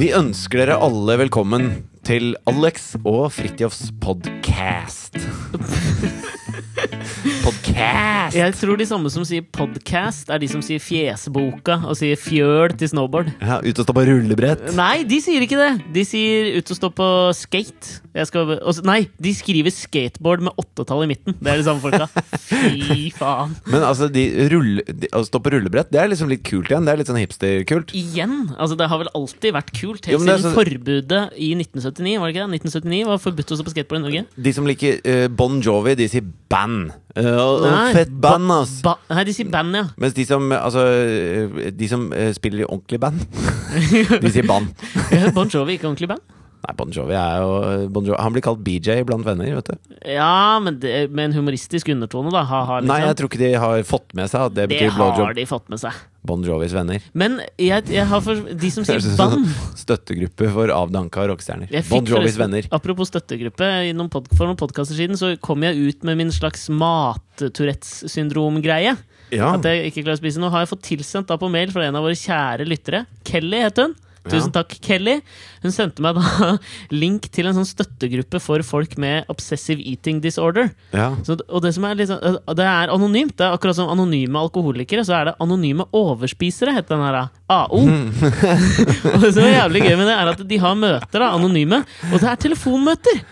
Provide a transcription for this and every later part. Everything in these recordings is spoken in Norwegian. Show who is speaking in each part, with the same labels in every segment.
Speaker 1: Vi ønsker dere alle velkommen til Alex og Fridtjofs podcast. podcast!
Speaker 2: Jeg tror de samme som sier podcast, er de som sier fjesboka og sier fjøl til snowboard.
Speaker 1: Ja, ut og stå på rullebrett.
Speaker 2: Nei, de sier ikke det! De sier ut og stå på skate. Jeg skal, og, s- nei, de skriver skateboard med åttetall i midten. Det er de samme folka. Fy faen.
Speaker 1: Men altså, de rulle, de, å stå på rullebrett, det er liksom litt kult igjen. Det er litt sånn hipsterkult.
Speaker 2: Igjen! Altså, det har vel alltid vært kult,
Speaker 1: Jo,
Speaker 2: helt
Speaker 1: men det er
Speaker 2: siden
Speaker 1: så-
Speaker 2: forbudet i 1979. Var det ikke det? 1979 var forbudt å stå på skateboard i Norge.
Speaker 1: De som liker eh, Bon Jovi, de sier band. Eh, og- og
Speaker 2: Nei,
Speaker 1: fett band, ass.
Speaker 2: Ba nei, de sier band, ja.
Speaker 1: Mens de som, eh, altså, eh, de som eh, spiller i ordentlig band, de sier band.
Speaker 2: Bon Jovi, ikke ordentlig band?
Speaker 1: Nei, Bon Jovi er jo eh, bon Jovi. Han blir kalt BJ blant venner, vet du.
Speaker 2: Ja, men det, med en humoristisk undertone, da. Ha-ha, liksom.
Speaker 1: Nei, jeg tror ikke de har fått med seg at det
Speaker 2: det
Speaker 1: betyr blowjob.
Speaker 2: har de fått med seg.
Speaker 1: Bon Jovis venner.
Speaker 2: Men jeg, jeg har for, de som sier
Speaker 1: Høres ut som
Speaker 2: band
Speaker 1: sånn Støttegruppe for avdanka rockestjerner.
Speaker 2: jeg fikk
Speaker 1: Bon Jovis
Speaker 2: forresten-
Speaker 1: venner.
Speaker 2: Apropos støttegruppe, i noen pod for noen podkaster siden så kom jeg ut med min slags mat-Tourettes-syndrom-greie.
Speaker 1: Ja.
Speaker 2: At jeg ikke klarer å spise. Nå har jeg fått tilsendt da på mail fra en av våre kjære lyttere. Kelly het hun. Tusen takk, Kelly. Hun sendte meg da link til en sånn støttegruppe for folk med obsessive eating disorder.
Speaker 1: Ja.
Speaker 2: Så, det- og det, som er litt sånn- eh, det er anonymt. Det er akkurat som anonyme alkoholikere, så er det anonyme overspisere, heter den her. da. AO. og det som er jævlig gøy med det, er at de har møter, da, anonyme. Og det er telefonmøter!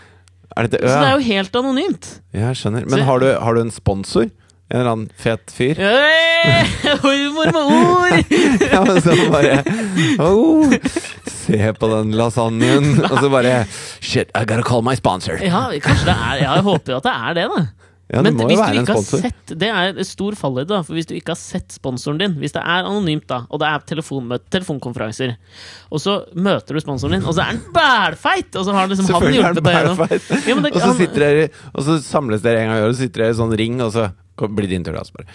Speaker 1: Er det,
Speaker 2: Så det
Speaker 1: ja.
Speaker 2: er jo helt anonymt.
Speaker 1: Jeg skjønner. Men har du, har du en sponsor? En eller annen fet fyr?
Speaker 2: Hey, humor med ord!
Speaker 1: Ja, men så bare oh, Se på den lasagnen, og så bare Shit, I gotta call my sponsor.
Speaker 2: Ja, kanskje det er Ja, jeg håper jo at det er det, da.
Speaker 1: Ja, det
Speaker 2: Men
Speaker 1: må jo
Speaker 2: hvis du
Speaker 1: være en
Speaker 2: ikke har
Speaker 1: sponsor.
Speaker 2: sett Det er stor fallhøyde, da. For hvis du ikke har sett sponsoren din, hvis det er anonymt, da, og det er telefonmøte, telefonkonferanser, og så møter du sponsoren din, og så er han bælfeit! Og så har liksom han
Speaker 1: Selvfølgelig er
Speaker 2: hjulpet
Speaker 1: den
Speaker 2: deg gjennom.
Speaker 1: perfekt.
Speaker 2: Ja, men det-
Speaker 1: Og så
Speaker 2: han-
Speaker 1: sitter dere Og så samles dere en gang i året, og så sitter dere i sånn ring, og så kom, blir det din tur. da, så bare.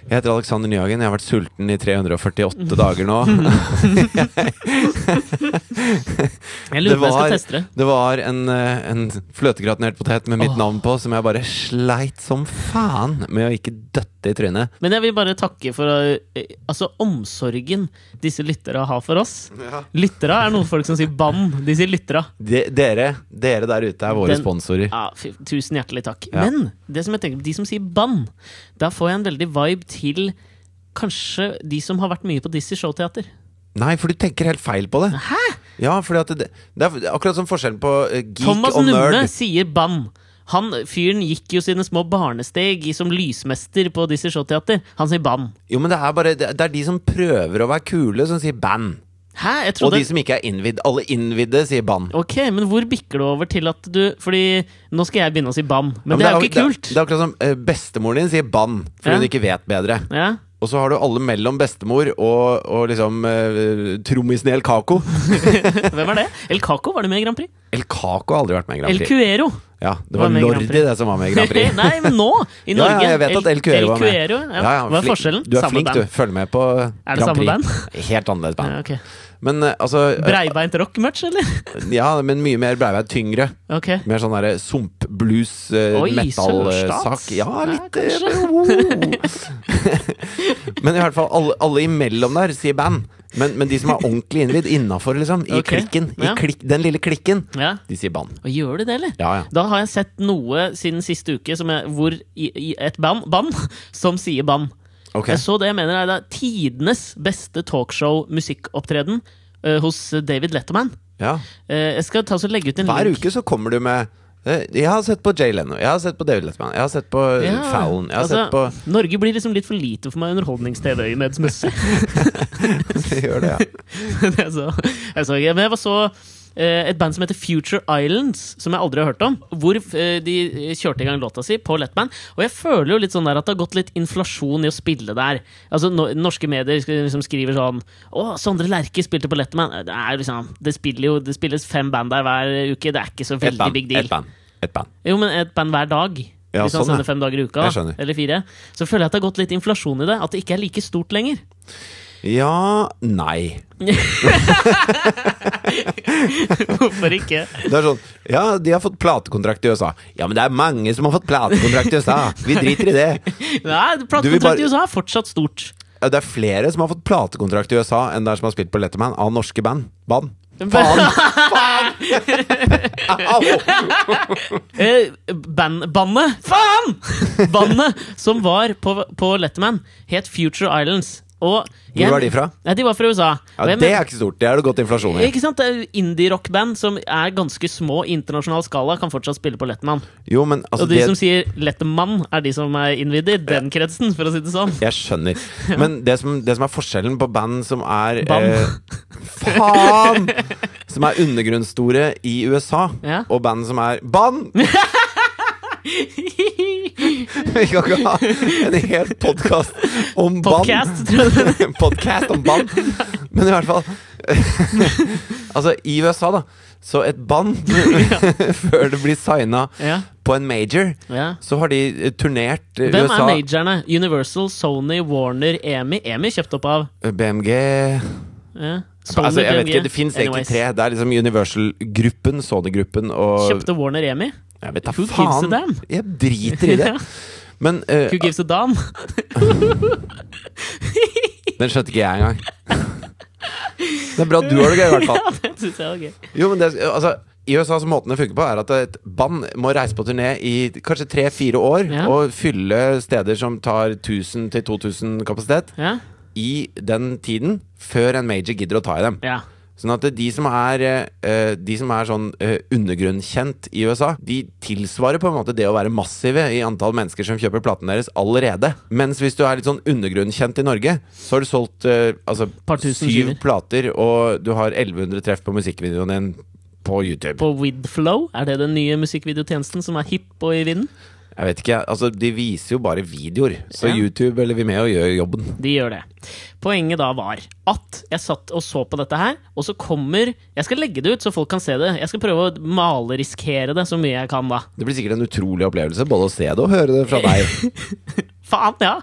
Speaker 1: Jeg heter Alexander Nyhagen, jeg har vært sulten i 348 dager nå.
Speaker 2: Jeg lurer
Speaker 1: Det
Speaker 2: på om jeg
Speaker 1: var-
Speaker 2: skal teste det.
Speaker 1: Det var en, eh, en fløtegratinert potet med mitt
Speaker 2: Åh.
Speaker 1: navn på, som jeg bare sleit som faen med å ikke døtte i trynet.
Speaker 2: Men jeg vil bare takke for eh, altså, omsorgen disse lyttere har for oss. Lyttere er noen folk som sier bam. De sier lyttere.
Speaker 1: De, dere, dere der ute er våre
Speaker 2: Den-
Speaker 1: sponsorer.
Speaker 2: Ja, fy- tusen hjertelig takk.
Speaker 1: Ja.
Speaker 2: Men det som jeg tenker, de som sier bann, da får jeg en veldig vibe til kanskje de som har vært mye på Dizzie Showteater.
Speaker 1: Nei, for du tenker helt feil på det.
Speaker 2: Hæ?
Speaker 1: Ja, fordi at det, det er akkurat som forskjellen på eh, geek
Speaker 2: Thomas
Speaker 1: og nerd.
Speaker 2: Numme sier bann. Han, fyren gikk jo sine små barnesteg i- som lysmester på Dizzie Showteater. Han sier bann.
Speaker 1: Jo, men det er bare Det det er de som prøver å være kule, som sier band.
Speaker 2: Hæ? Jeg
Speaker 1: Og
Speaker 2: trodde
Speaker 1: de som ikke er innvidd. Alle innvidde sier band.
Speaker 2: Ok, men hvor bikker det over til at du Fordi nå skal jeg begynne å si bann,
Speaker 1: Ja,
Speaker 2: men, det er jo
Speaker 1: ak-
Speaker 2: ikke kult.
Speaker 1: Det, det er akkurat som eh, bestemoren din sier band, fordi
Speaker 2: Ja.
Speaker 1: hun ikke vet bedre.
Speaker 2: ja.
Speaker 1: Og så har du alle mellom bestemor og, og liksom eh, trommisen El Caco.
Speaker 2: Hvem er det? El Caco, var det med i Grand Prix?
Speaker 1: El Caco har aldri vært med i
Speaker 2: El
Speaker 1: Grand Prix.
Speaker 2: Cuero.
Speaker 1: Ja, det var,
Speaker 2: var med i Grand
Speaker 1: Lordi
Speaker 2: Prix.
Speaker 1: det som var med i Grand Prix.
Speaker 2: Nei, men nå, i
Speaker 1: Ja,
Speaker 2: Norge.
Speaker 1: ja, jeg vet at El Cuero var med.
Speaker 2: ja.
Speaker 1: Ja, ja,
Speaker 2: Hva er
Speaker 1: flink-
Speaker 2: forskjellen?
Speaker 1: Du er flink,
Speaker 2: band.
Speaker 1: du. Følg med på Grand Prix.
Speaker 2: Er det samme band?
Speaker 1: Helt annerledes band.
Speaker 2: Ja, ok.
Speaker 1: Men eh, altså eh,
Speaker 2: Breibeint rock-match, eller?
Speaker 1: Ja, men mye mer blei tyngre.
Speaker 2: Ok.
Speaker 1: Mer sånn derre sumpblues,
Speaker 2: Oi,
Speaker 1: metallsak.
Speaker 2: sørstats.
Speaker 1: Ja,
Speaker 2: Ja,
Speaker 1: litt eh, wow. Men i hvert fall, alle, alle imellom der sier band. Men, men de som er ordentlig innvidd innafor, liksom, i
Speaker 2: Ok,
Speaker 1: klikken, i
Speaker 2: ja.
Speaker 1: klikk, den lille klikken,
Speaker 2: Ja.
Speaker 1: de sier band.
Speaker 2: Og gjør du det, eller?
Speaker 1: Ja, ja.
Speaker 2: Da har jeg sett noe siden siste uke som jeg, hvor i, i et band, band som sier band.
Speaker 1: Ok.
Speaker 2: Jeg så det jeg mener er da tidenes beste talkshow-musikkopptreden eh, hos David Letterman.
Speaker 1: Ja.
Speaker 2: Eh, jeg skal ta og så legge ut en
Speaker 1: Hver
Speaker 2: link.
Speaker 1: uke så kommer du med eh, jeg har sett på Jay Leno, jeg har sett på David Letterman, jeg har sett på eh,
Speaker 2: Ja,
Speaker 1: Fallon Jeg har
Speaker 2: altså,
Speaker 1: sett på
Speaker 2: Norge blir liksom litt for lite for meg underholdnings-TV-øyemedsmessig.
Speaker 1: Gjør det, ja.
Speaker 2: jeg så, jeg så ikke. Men jeg var så eh, et band som heter Future Islands, som jeg aldri har hørt om. Hvor eh, de kjørte i gang låta si på Letman. Og jeg føler jo litt sånn der at det har gått litt inflasjon i å spille der. Altså no, Norske medier sk- liksom skriver sånn Å, Sondre Lerche spilte på Letman. Det er liksom Det spiller jo Det spilles fem band der hver uke. Det er ikke så
Speaker 1: Et
Speaker 2: veldig
Speaker 1: band.
Speaker 2: big deal.
Speaker 1: Et band. Et band.
Speaker 2: Jo, men et band hver dag.
Speaker 1: Ja,
Speaker 2: hvis han
Speaker 1: sånn, ja.
Speaker 2: sender fem dager i uka,
Speaker 1: Jeg skjønner.
Speaker 2: eller fire, så føler jeg at det har gått litt inflasjon i det. At det ikke er like stort lenger.
Speaker 1: Ja Nei.
Speaker 2: Hvorfor ikke?
Speaker 1: Det er sånn, ja, de har fått platekontrakt i USA. Ja, men det er mange som har fått platekontrakt i USA. Vi driter i det.
Speaker 2: Nei,
Speaker 1: Du vil bare-
Speaker 2: platekontrakt i USA er fortsatt stort.
Speaker 1: Ja, Det er flere som har fått platekontrakt i USA enn der som har spilt på Letterman av norske band. band. Faen! Faen! Au!
Speaker 2: Eh, band, bandet Faen! Bandet som var på, på Letterman, het Future Islands. Og jeg-
Speaker 1: Hvor var de fra?
Speaker 2: Nei, de var fra USA. Og
Speaker 1: Ja,
Speaker 2: jeg
Speaker 1: det
Speaker 2: mener-
Speaker 1: er ikke stort. Det er det godt inflasjon i.
Speaker 2: ikke sant? Det er jo Indie-rockband som er ganske små i internasjonal skala, kan fortsatt spille på Letterman.
Speaker 1: Jo, men altså
Speaker 2: Og de
Speaker 1: det,
Speaker 2: som sier Letterman, er de som er innvidd i den kretsen, for å si det sånn.
Speaker 1: Jeg skjønner. Men det som, det som er forskjellen på band som er eh,
Speaker 2: Bam.
Speaker 1: Faen! Som er undergrunnsstore i USA,
Speaker 2: Ja.
Speaker 1: og band som er Bann! Vi kan ikke ha en hel podkast om bann.
Speaker 2: Podcast, tror jeg.
Speaker 1: Podkast om bann. Men i hvert fall Altså, i USA, da, så et band Før det blir signa
Speaker 2: Ja.
Speaker 1: på en major,
Speaker 2: Ja.
Speaker 1: så har de eh, turnert eh,
Speaker 2: Hvem er
Speaker 1: USA
Speaker 2: majorene? Universal, Sony, Warner, EMI. EMI kjøpt opp av
Speaker 1: BMG
Speaker 2: ja. Sony,
Speaker 1: Altså, jeg vet
Speaker 2: BMG.
Speaker 1: ikke, Det fins egentlig
Speaker 2: Anyways.
Speaker 1: tre. Det er liksom Universal-gruppen, Sony-gruppen og
Speaker 2: Kjøpte Warner EMI?
Speaker 1: Jeg vet da
Speaker 2: Who gives a
Speaker 1: faen!
Speaker 2: damn?
Speaker 1: Jeg driter i det.
Speaker 2: Ja.
Speaker 1: Men eh,
Speaker 2: Who gives a damn?
Speaker 1: den skjønte ikke jeg engang. Det er bra du har det gøy, i hvert fall.
Speaker 2: Ja, det synes jeg var gøy.
Speaker 1: Jo, men det, altså i USA så måten det funker på, er at et band må reise på turné i kanskje tre-fire år
Speaker 2: Ja.
Speaker 1: og fylle steder som tar 1000 til 2000 kapasitet,
Speaker 2: Ja.
Speaker 1: i den tiden før en major gidder å ta i dem.
Speaker 2: ja.
Speaker 1: Sånn at de som er, eh, de som er sånn eh, undergrunnkjent i USA, de tilsvarer på en måte det å være massive i antall mennesker som kjøper platene deres allerede. Mens hvis du er litt sånn undergrunnkjent i Norge, så har du solgt eh, altså,
Speaker 2: Par tusen
Speaker 1: syv
Speaker 2: skiver.
Speaker 1: plater, og du har 1100 treff på musikkvideoen din på YouTube.
Speaker 2: På Widflow, er det den nye musikkvideotjenesten som er hipp og i vinden?
Speaker 1: Jeg vet ikke, altså De viser jo bare videoer, så
Speaker 2: Ja.
Speaker 1: YouTube eller Vimeo gjør jobben.
Speaker 2: De gjør det. Poenget da var at jeg satt og så på dette her, og så kommer Jeg skal legge det ut så folk kan se det. Jeg skal prøve å maleriskere det så mye jeg kan, da.
Speaker 1: Det blir sikkert en utrolig opplevelse, både å se det og høre det fra deg.
Speaker 2: Faen, ja!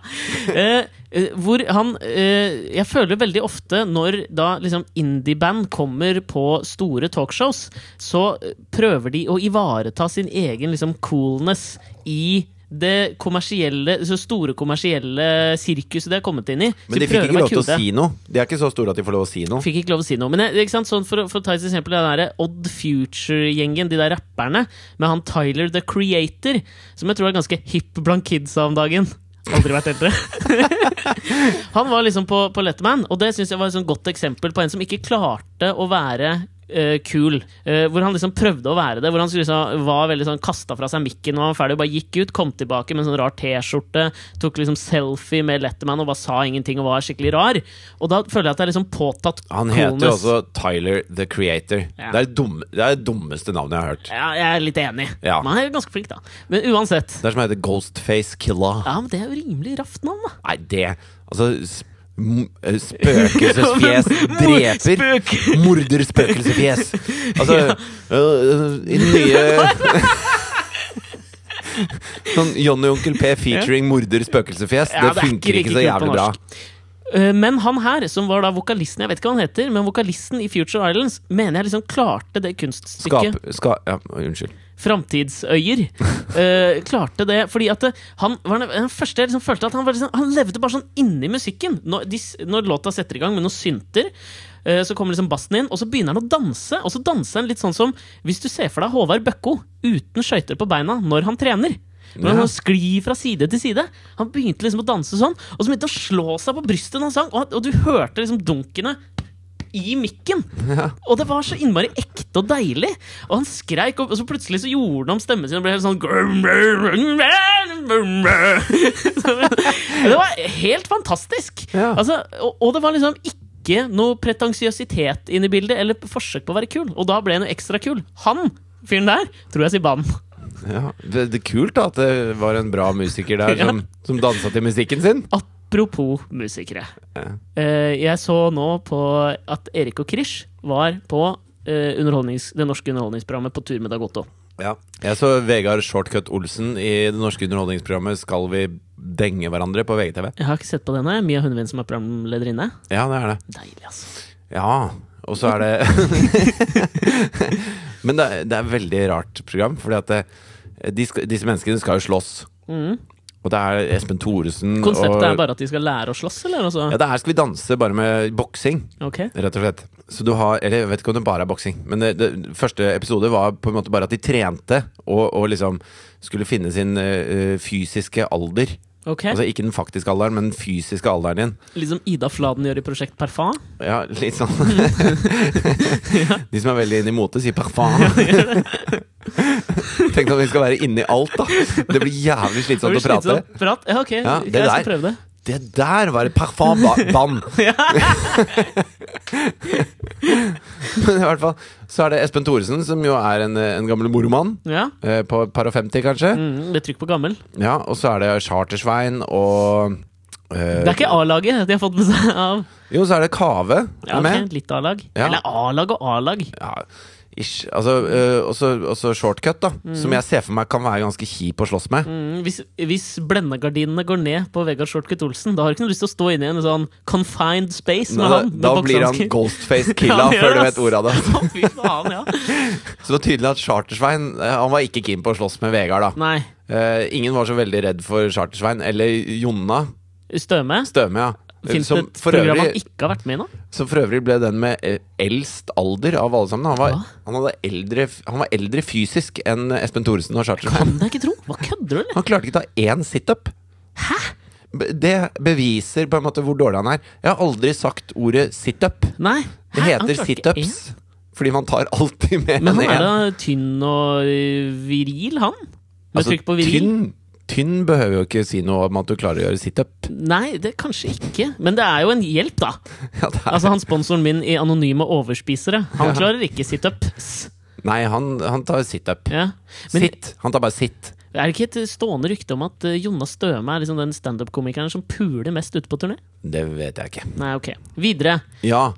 Speaker 2: Eh, eh, hvor han eh, Jeg føler veldig ofte når da liksom indieband kommer på store talkshows, så eh, prøver de å ivareta sin egen liksom coolness i det kommersielle, så store kommersielle sirkuset de har kommet inn i. Så
Speaker 1: Men de fikk
Speaker 2: prøver å
Speaker 1: ikke
Speaker 2: være
Speaker 1: lov til å
Speaker 2: kule.
Speaker 1: si noe. De er ikke så store at de får lov å si noe.
Speaker 2: Fikk ikke lov å si noe. Men jeg- ikke sant? Sånn for, å- for å ta et eksempel den der Odd Future-gjengen, de der rapperne, med han Tyler the Creator, som jeg tror er ganske hipp blant kidsa om dagen. Aldri vært eldre. han var liksom på, på Letterman, og det syns jeg var et sånn godt eksempel på en som ikke klarte å være eh, kul. Eh, hvor han liksom prøvde å være det. Hvor han skulle liksom, var veldig sånn kasta fra seg mikken og han var ferdig og bare gikk ut, kom tilbake med en sånn rar T-skjorte, tok liksom selfie med Letterman og bare sa ingenting og var skikkelig rar. Og da føler jeg at det er liksom påtatt
Speaker 1: Han heter jo
Speaker 2: coolness.
Speaker 1: også Tyler the Creator.
Speaker 2: Ja.
Speaker 1: Det, er dum, det er det dummeste navnet jeg har hørt.
Speaker 2: ja, Jeg er litt enig.
Speaker 1: Ja.
Speaker 2: Men han er ganske flink, da. Men uansett.
Speaker 1: Det er som heter Ghostface Killa.
Speaker 2: Ja, men Det er jo rimelig raft navn, da.
Speaker 1: Nei, det Altså s- m- eh, Spøkelsesfjes dreper.
Speaker 2: Spøk!
Speaker 1: Morderspøkelsefjes. Altså øh, øh, I den nye Sånn Johnny Onkel P featuring morder spøkelsefjes.
Speaker 2: Ja,
Speaker 1: det funker ikke så
Speaker 2: like kult på
Speaker 1: jævlig bra.
Speaker 2: norsk. Eh, Men han her, som var da vokalisten Jeg vet ikke hva han heter, men vokalisten i Future Islands, mener jeg liksom klarte det kunststykket.
Speaker 1: Skap, ska, ja, unnskyld.
Speaker 2: framtidsøyer. eh, klarte det fordi at det, han var den- den første jeg liksom følte at han, var liksom, han levde bare sånn inni musikken. Når, de, s- når låta setter i gang med noen synter, eh, så kommer liksom bassen inn, og så begynner han å danse. Og så danser han litt sånn som hvis du ser for deg Håvard Bøkko uten skøyter på beina når han trener. Men
Speaker 1: Ja.
Speaker 2: han sklir fra side til side. Han begynte liksom å danse sånn, og så begynte han å slå seg på brystet når han sang, og, og du hørte liksom dunkene i mikken. Og det var så innmari ekte og deilig. Og han skreik, og og så plutselig så gjorde han om stemmen sin og ble helt sånn Det var helt fantastisk.
Speaker 1: Ja.
Speaker 2: Altså, og, og det var liksom ikke noe pretensiøsitet inne i bildet, eller forsøk på å være kul. Og da ble han jo ekstra kul. Han fyren der tror jeg sier bann.
Speaker 1: Ja, det, det er kult da at det var en bra musiker der som, som dansa til musikken sin.
Speaker 2: Apropos musikere.
Speaker 1: Ja.
Speaker 2: Eh, jeg så nå på at Erik og Krish var på eh, underholdnings, det norske underholdningsprogrammet på tur med Dag Otto.
Speaker 1: Ja. Jeg så Vegard Shortcut Olsen i det norske underholdningsprogrammet Skal vi denge hverandre på VGTV.
Speaker 2: Jeg har ikke sett på den her. Mia Hundvin som er programlederinne.
Speaker 1: Ja, det er det.
Speaker 2: Deilig, altså.
Speaker 1: Ja, og så er det Men det, eh, er- det er et veldig rart program, fordi at det, de, skal, disse menneskene skal jo slåss.
Speaker 2: Mm.
Speaker 1: Og Og det er Espen Thoresen
Speaker 2: Konseptet
Speaker 1: og
Speaker 2: er bare at de skal lære å slåss, eller? Altså?
Speaker 1: ja, Det her skal vi danse, bare med boksing.
Speaker 2: Ok.
Speaker 1: Rett og slett. Så du har Eller jeg vet ikke om det bare er boksing, men det, det første episode var på en måte bare at de trente og, og liksom skulle finne sin eh, eh, fysiske alder.
Speaker 2: ok
Speaker 1: Altså ikke den faktiske alderen, men den fysiske alderen din.
Speaker 2: Litt som Ida Fladen gjør i Prosjekt Parfum.
Speaker 1: Ja, litt sånn
Speaker 2: Mm.
Speaker 1: De som er veldig inne i mote, sier 'parfum'. Tenk om vi skal være inni alt, da. Det blir jævlig
Speaker 2: Det
Speaker 1: slitsomt
Speaker 2: blir
Speaker 1: sånn å prate.
Speaker 2: slitsomt. sånn? Prat? Ja, ok,
Speaker 1: Ja, det
Speaker 2: jeg skal
Speaker 1: der.
Speaker 2: prøve det.
Speaker 1: Det der var et parfum-bann! Men i hvert fall så er det Espen Thoresen, som jo er en, eh, en gammel moromann.
Speaker 2: Ja.
Speaker 1: eh, På et par og 50, kanskje.
Speaker 2: Mm, litt trykk på gammel.
Speaker 1: Ja, Og så er det Chartersvein og eh,
Speaker 2: Det er ikke A-laget de har fått med seg av
Speaker 1: Jo, så er det Kave
Speaker 2: ja,
Speaker 1: er med.
Speaker 2: ok, Litt A-lag.
Speaker 1: Ja.
Speaker 2: Eller A-lag og A-lag.
Speaker 1: ja, ish. Altså, øh, også, også shortcut, da. Som jeg ser for meg kan være ganske kjip å slåss med.
Speaker 2: Mm, hvis, hvis blendegardinene går ned på Vegard Shortcut Olsen, da har du ikke noe lyst til å stå inne i en sånn confined space med
Speaker 1: da
Speaker 2: han.
Speaker 1: da blir han ghostface killa før du vet ordet av det.
Speaker 2: Å, fy faen, ja.
Speaker 1: Så det var tydelig at Chartersvein øh, Han var ikke keen på å slåss med Vegard, da.
Speaker 2: Nei.
Speaker 1: Eh, ingen var så veldig redd for Chartersvein. Eller Jonna
Speaker 2: Støme?
Speaker 1: Støme, ja. Eh,
Speaker 2: Fins det
Speaker 1: Som
Speaker 2: et
Speaker 1: for,
Speaker 2: program
Speaker 1: øvrig,
Speaker 2: han ikke har vært med i nå?
Speaker 1: som for øvrig ble den med eh, eldst alder av alle sammen. Han var,
Speaker 2: Hva?
Speaker 1: han, hadde eldre, f- han var eldre fysisk enn Espen Thoresen og Chartersvein.
Speaker 2: Kan jeg ikke tro! Hva kødder du, eller?
Speaker 1: Han klarte ikke ta én situp. Hæ? Det beviser på en måte hvor dårlig han er. Jeg har aldri sagt ordet situp.
Speaker 2: Nei.
Speaker 1: Det
Speaker 2: Hæ? Han
Speaker 1: heter
Speaker 2: klarte ikke
Speaker 1: situps
Speaker 2: én.
Speaker 1: fordi man tar alltid mer
Speaker 2: Men
Speaker 1: enn
Speaker 2: han er
Speaker 1: én.
Speaker 2: da tynn og ø, viril, han? Med
Speaker 1: Altså,
Speaker 2: trykk på viril?
Speaker 1: tynn, tynn behøver jo ikke si noe om at du klarer å gjøre situp.
Speaker 2: Nei, det kanskje ikke. Men det er jo en hjelp, da.
Speaker 1: Ja, det er-
Speaker 2: Altså han Sponsoren min i Anonyme overspisere. Han klarer ikke situps.
Speaker 1: Nei, han, han tar situp.
Speaker 2: Ja. Men
Speaker 1: Sitt. Han tar bare sitt.
Speaker 2: er det ikke et stående rykte om at eh, Jonas Støme er liksom den standup-komikeren som puler mest ute på turné?
Speaker 1: Det vet jeg ikke.
Speaker 2: Nei, ok. Videre.
Speaker 1: Ja,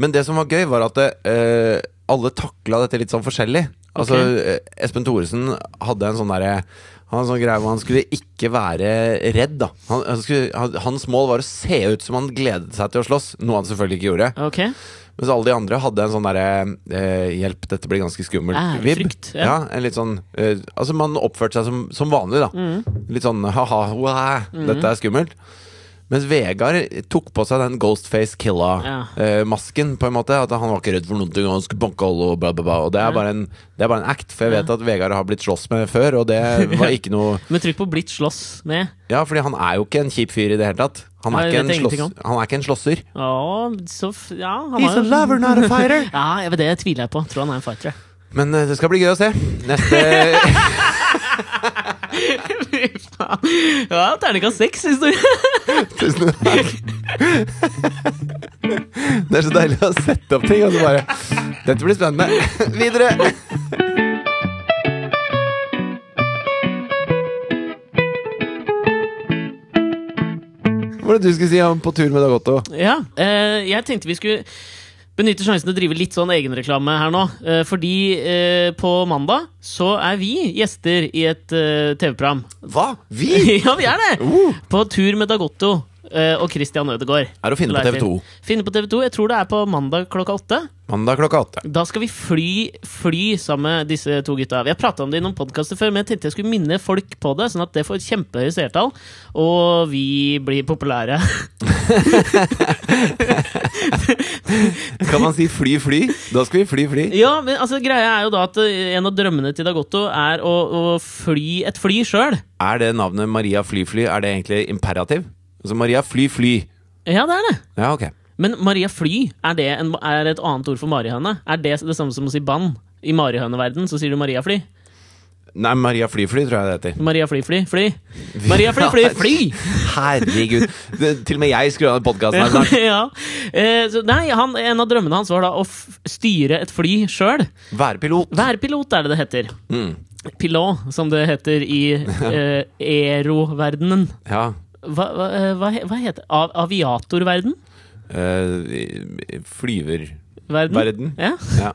Speaker 1: Men det som var gøy, var at eh, alle takla dette litt sånn forskjellig. Altså, eh, Espen Thoresen hadde en sånn derre Han hadde en sånn greie hvor han skulle ikke være redd, da. Han, han skulle, han, hans mål var å se ut som han gledet seg til å slåss, noe han selvfølgelig ikke gjorde.
Speaker 2: Ok.
Speaker 1: Mens alle de andre hadde en sånn derre eh, 'hjelp, dette blir ganske skummelt'
Speaker 2: Ærefrykt,
Speaker 1: Ja.
Speaker 2: Ah, ja.
Speaker 1: en litt sånn eh, Altså, man oppførte seg som, som vanlig, da.
Speaker 2: Mm.
Speaker 1: Litt sånn 'ha-ha, wow, dette er skummelt'. Mens Vegard tok på seg den Ghostface
Speaker 2: Ja.
Speaker 1: Killa-masken, på en måte. At han var ikke redd for noen ting, han skulle banke alle og bla, bla, bla. Og det er,
Speaker 2: Ja.
Speaker 1: bare en, det er bare en act, for jeg vet at Vegard har blitt slåss med før, og det var ikke noe
Speaker 2: Med trykk på 'blitt slåss' med
Speaker 1: Ja, fordi han er jo ikke en kjip fyr i det hele tatt. Han er,
Speaker 2: Nei,
Speaker 1: ikke,
Speaker 2: det vet
Speaker 1: en
Speaker 2: jeg
Speaker 1: slåss,
Speaker 2: ingenting
Speaker 1: han er ikke en slåsser.
Speaker 2: Å, så f Ja, han
Speaker 1: He's a
Speaker 2: har jo
Speaker 1: lover, not a fighter.
Speaker 2: ja, jeg vet det tviler jeg på. Tror han er en fighter. jeg.
Speaker 1: Men eh, det skal bli gøy å se. Neste
Speaker 2: Fy faen. ja, terningkast seks, synes du?
Speaker 1: Tusen takk. Det er så deilig å sette opp ting, og så bare Dette blir spennende. Videre. Hva var det du skulle si om på tur med Dag Otto?
Speaker 2: Ja. eh, jeg tenkte vi skulle benytte sjansen til å drive litt sånn egenreklame her nå. eh, fordi eh, på mandag så er vi gjester i et eh, TV-program.
Speaker 1: Hva? Vi?
Speaker 2: ja, vi er det!
Speaker 1: Uh.
Speaker 2: På tur med Dagotto eh, og Christian Ødegaard.
Speaker 1: Er å finne på TV 2.
Speaker 2: Finne på TV2. Jeg tror det er på mandag klokka åtte.
Speaker 1: Mandag klokka åtte.
Speaker 2: Da skal vi fly, fly sammen med disse to gutta. Vi har prata om det i noen podkaster før, men jeg tenkte jeg skulle minne folk på det, sånn at det får kjempehøye seertall, og vi blir populære.
Speaker 1: Kan man si fly, fly? Da skal vi fly, fly.
Speaker 2: Ja, men altså greia er jo da at eh, en av drømmene til Dagotto er å, å fly et fly sjøl.
Speaker 1: Er det navnet Maria Fly Fly, er det egentlig imperativ? Altså Maria Fly Fly.
Speaker 2: Ja, det er det.
Speaker 1: Ja, ok.
Speaker 2: Men Maria Fly, er det en, er et annet ord for marihøne? Er det det samme som å si bann? I marihøneverden så sier du Maria Fly.
Speaker 1: Nei, Maria Fly Fly tror jeg det heter.
Speaker 2: Maria Fly, fly, fly. Maria Fly, fly, fly!
Speaker 1: Herregud. Det, til og med jeg skrur av podkasten her snart.
Speaker 2: ja. Eh, så, nei, han, en av drømmene hans var da å f styre et fly sjøl.
Speaker 1: Være pilot. Mm.
Speaker 2: Værpilot er det det heter. Pilot, som det heter i eh, aeroverdenen.
Speaker 1: Ja.
Speaker 2: Hva, hva, eh, hva, he- hva heter det? Av, aviatorverden?
Speaker 1: Eh, flyver.
Speaker 2: Verden?
Speaker 1: Verden.
Speaker 2: Ja.
Speaker 1: Ja.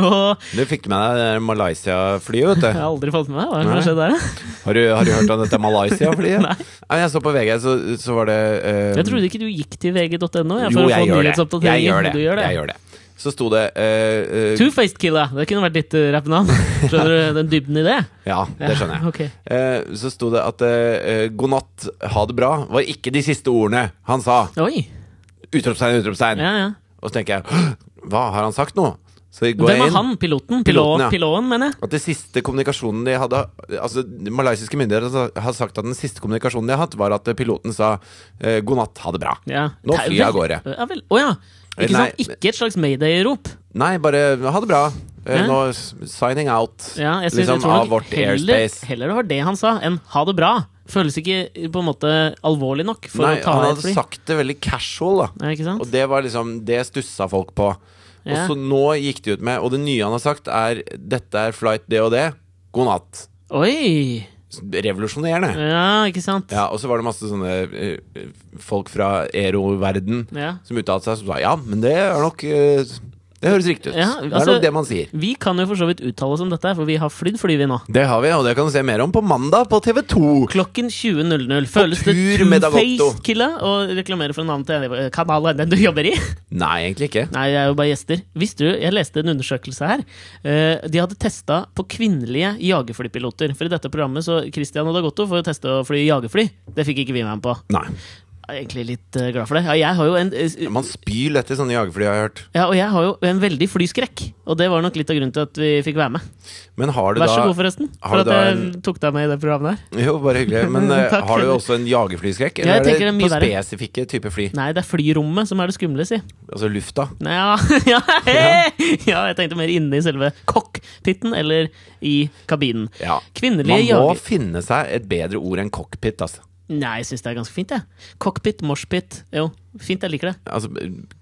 Speaker 2: Og
Speaker 1: Du fikk med deg det der Malaysia-flyet, vet
Speaker 2: jeg
Speaker 1: du.
Speaker 2: har aldri fått med meg hva er
Speaker 1: Nei.
Speaker 2: det som har skjedd der. da?
Speaker 1: Har du, har du hørt om dette Malaysia-flyet?
Speaker 2: Nei.
Speaker 1: Nei, Jeg så på VG, så, så var det eh,
Speaker 2: Jeg trodde ikke du gikk til vg.no. jeg,
Speaker 1: Jo,
Speaker 2: for å
Speaker 1: jeg
Speaker 2: få
Speaker 1: gjør det.
Speaker 2: nyhetsoppdateringer.
Speaker 1: Jeg gjør det.
Speaker 2: Du gjør det.
Speaker 1: Jeg gjør det. så sto det eh, eh,
Speaker 2: Two-Faced Killer. Det kunne vært ditt eh, rappnavn. Skjønner du den dybden i det?
Speaker 1: Ja, det skjønner jeg.
Speaker 2: Ok.
Speaker 1: Eh, så sto det at eh, eh, 'god natt, ha det bra' var ikke de siste ordene han sa.
Speaker 2: Oi.
Speaker 1: Utropstegn, utropstegn.
Speaker 2: Ja, ja.
Speaker 1: Og så tenker jeg «Hå! 'hva har han sagt nå?' Så går
Speaker 2: Hvem
Speaker 1: jeg
Speaker 2: var
Speaker 1: inn.
Speaker 2: han? Piloten?
Speaker 1: Piloten,
Speaker 2: Piloten,
Speaker 1: ja.
Speaker 2: Piloten mener jeg.
Speaker 1: At det siste kommunikasjonen de hadde Altså, de Malaysiske myndigheter sa- har sagt at den siste kommunikasjonen de har hatt, var at piloten sa eh, 'god natt, ha det bra'.
Speaker 2: Ja.
Speaker 1: Nå
Speaker 2: Det er
Speaker 1: flyr
Speaker 2: jo
Speaker 1: jeg av
Speaker 2: veldig-
Speaker 1: gårde.
Speaker 2: Ja, vel. Å ja. Ikke,
Speaker 1: Nei.
Speaker 2: sant? ikke et slags mayday-rop.
Speaker 1: Nei, bare 'ha det bra'. Eh,
Speaker 2: Ja.
Speaker 1: Nå s- signing out.
Speaker 2: Ja, jeg synes,
Speaker 1: liksom
Speaker 2: jeg tror nok
Speaker 1: av vårt
Speaker 2: heller,
Speaker 1: airspace.
Speaker 2: Heller det var det han sa, enn ha det bra. Føles ikke på en måte alvorlig nok for
Speaker 1: Nei,
Speaker 2: å ta
Speaker 1: han
Speaker 2: av et
Speaker 1: hadde
Speaker 2: fly.
Speaker 1: sagt det veldig casual, da.
Speaker 2: Ja, ikke sant?
Speaker 1: Og det var liksom Det stussa folk på. Og
Speaker 2: Ja.
Speaker 1: så nå gikk de ut med Og det nye han har sagt, er 'Dette er flight det og det. God natt'.
Speaker 2: Oi!
Speaker 1: Revolusjonerende.
Speaker 2: Ja, ikke sant?
Speaker 1: Ja, og så var det masse sånne eh, eh, folk fra ero-verden
Speaker 2: Ja.
Speaker 1: som uttalte seg, som sa 'Ja, men det er nok eh, Det høres riktig ut.
Speaker 2: Ja,
Speaker 1: det
Speaker 2: altså-
Speaker 1: er nok det man sier.
Speaker 2: Vi kan jo for så vidt uttale oss om dette, for vi har flydd fly, vi nå.
Speaker 1: Det har vi, og det kan du se mer om på mandag på TV2.
Speaker 2: Klokken 20.00. Føles det
Speaker 1: tur med Dagotto.
Speaker 2: two-faced killa å reklamere for en annen TV-kanal enn den du jobber i?
Speaker 1: Nei, egentlig ikke.
Speaker 2: Nei, jeg er jo bare gjester. Visste du, jeg leste en undersøkelse her. Eh, De hadde testa på kvinnelige jagerflypiloter. For i dette programmet så Christian og Dagotto får jo teste å fly jagerfly. Det fikk ikke vi med dem på.
Speaker 1: Nei.
Speaker 2: Jeg er egentlig litt eh, glad for det. Ja, jeg har jo en eh,
Speaker 1: Man spyr lett i sånne jagerfly, har jeg hørt.
Speaker 2: ja, og jeg har jo en veldig flyskrekk, og det var nok litt av grunnen til at vi fikk være med.
Speaker 1: Men har du
Speaker 2: Vær så god,
Speaker 1: da
Speaker 2: forresten,
Speaker 1: har
Speaker 2: for
Speaker 1: du
Speaker 2: at
Speaker 1: da
Speaker 2: jeg
Speaker 1: en-
Speaker 2: tok deg med i det programmet der.
Speaker 1: Jo, bare hyggelig. Men eh,
Speaker 2: Takk.
Speaker 1: har du også en jagerflyskrekk?
Speaker 2: Ja, jeg
Speaker 1: Eller
Speaker 2: tenker
Speaker 1: er
Speaker 2: det er
Speaker 1: det på
Speaker 2: mye verre.
Speaker 1: spesifikke typer fly?
Speaker 2: Nei, det er flyrommet som er det skumle, si.
Speaker 1: Altså lufta.
Speaker 2: Nei, Ja, ja, hei! ja, jeg tenkte mer inne i selve cockpiten eller i kabinen.
Speaker 1: Ja. Man må
Speaker 2: Kvinnelige jager...
Speaker 1: finne seg et bedre ord enn cockpit. Altså.
Speaker 2: Nei, jeg syns det er ganske fint, jeg. Cockpit, moshpit. Jo, fint, jeg liker det.
Speaker 1: altså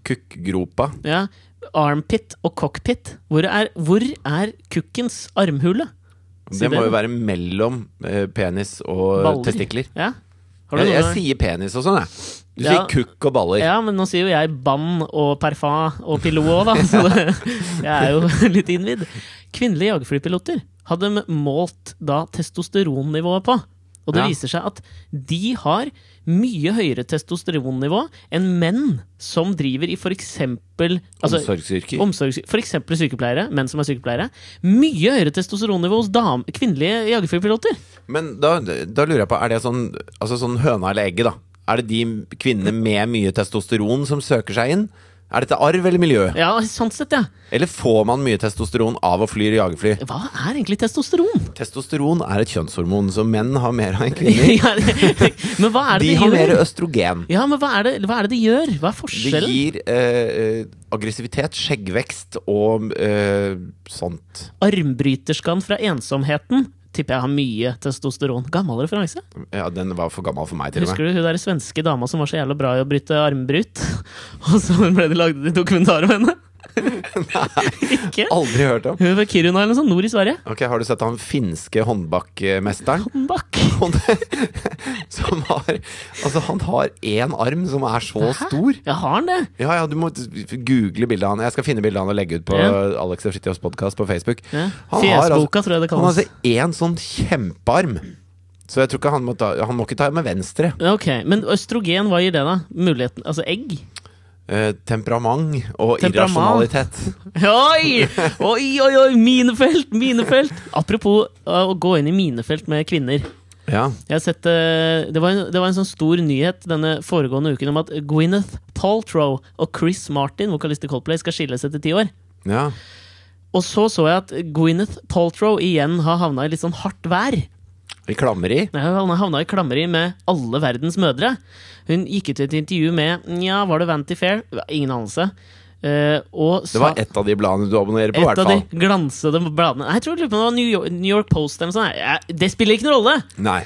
Speaker 1: kukkgropa.
Speaker 2: Ja. Armpit og cockpit. Hvor er, hvor er kukkens armhule? Si
Speaker 1: Det må
Speaker 2: det.
Speaker 1: jo være mellom eh, penis og
Speaker 2: Baller.
Speaker 1: testikler.
Speaker 2: Ja. Har du
Speaker 1: Jeg, jeg
Speaker 2: noe?
Speaker 1: sier penis og sånn, jeg. Du
Speaker 2: Ja.
Speaker 1: sier kukk og baller.
Speaker 2: Ja, men nå sier jo jeg bann og parfum og pilot òg, da, så det, jeg er jo litt innvidd. Kvinnelige jagerflypiloter hadde de målt da testosteronnivået på. Og det
Speaker 1: Ja.
Speaker 2: viser seg at de har mye høyere testosteronnivå enn menn som driver i f.eks. Altså,
Speaker 1: Omsorgsyrker.
Speaker 2: omsorgs... F.eks. sykepleiere, menn som er sykepleiere. Mye høyere testosteronnivå hos dam, kvinnelige jagerflypiloter.
Speaker 1: Men da, da lurer jeg på, er det sånn, altså sånn høna eller egget, da? Er det de kvinnene med mye testosteron som søker seg inn? Er dette arv eller miljø?
Speaker 2: Ja, sånn sett, ja.
Speaker 1: Eller får man mye testosteron av å fly jagerfly?
Speaker 2: Hva er egentlig testosteron?
Speaker 1: Testosteron er et kjønnshormon, så menn har mer av enn kvinner.
Speaker 2: ja, men hva er
Speaker 1: De
Speaker 2: det de,
Speaker 1: har
Speaker 2: gjør?
Speaker 1: mer østrogen.
Speaker 2: Ja, men hva er, det, hva er det de gjør? Hva er
Speaker 1: Det
Speaker 2: forskjellen?
Speaker 1: gir eh, eh, aggressivitet, skjeggvekst og eh, sånt.
Speaker 2: Armbryterskan fra ensomheten tipper jeg har mye testosteron. Gammel referanse.
Speaker 1: Ja, den var for gammel for meg, til og med.
Speaker 2: Husker du hun der svenske dama som var så jævla bra i å bryte armbryt? Og så ble det lagd en dokumentar om henne? Ikke?
Speaker 1: Aldri hørt om.
Speaker 2: Hun var Kiruna eller noe sånt, nord i Sverige.
Speaker 1: Ok, Har du sett han finske håndbakmesteren?
Speaker 2: Bak.
Speaker 1: Han- Som har Altså, han har én arm som er så stor.
Speaker 2: Ja, har han det?
Speaker 1: Ja, ja, du må google bildet av han. Jeg skal finne bildet av han og legge ut på
Speaker 2: Ja.
Speaker 1: Alex og Fritjofs podkast på Facebook.
Speaker 2: Ja.
Speaker 1: Han har altså-
Speaker 2: Fjesboka, tror jeg det
Speaker 1: Han har
Speaker 2: kalles.
Speaker 1: altså én sånn kjempearm. Så jeg tror ikke han må ta Han må ikke ta med venstre.
Speaker 2: Ok, Men østrogen, hva gir det, da? Muligheten Altså egg?
Speaker 1: Eh, temperament og
Speaker 2: Temperament.
Speaker 1: irrasjonalitet.
Speaker 2: Oi! Oi, oi, oi! Minefelt! Minefelt! Apropos uh, å gå inn i minefelt med kvinner.
Speaker 1: Ja.
Speaker 2: Jeg har sett, uh, det, var en, det var en sånn stor nyhet denne foregående uken om at Gwyneth Paltrow og Chris Martin, vokalist i Coldplay, skal skilles etter ti år.
Speaker 1: ja.
Speaker 2: Og så så jeg at Gwyneth Paltrow igjen har havna i litt sånn hardt vær.
Speaker 1: Vi klammer i.
Speaker 2: Nei, Hun havna i klammeri med alle verdens mødre. Hun gikk ut i et intervju med Nja, var det Vanty Fair? Ingen anelse. Uh, og
Speaker 1: Det var ett av de bladene du abonnerer på, i
Speaker 2: Et
Speaker 1: hvert
Speaker 2: av
Speaker 1: fall.
Speaker 2: de glansede bladene Nei, Jeg tror det var New York, New York Post eller noe sånt. Jeg- Det spiller ikke noen rolle!
Speaker 1: Nei.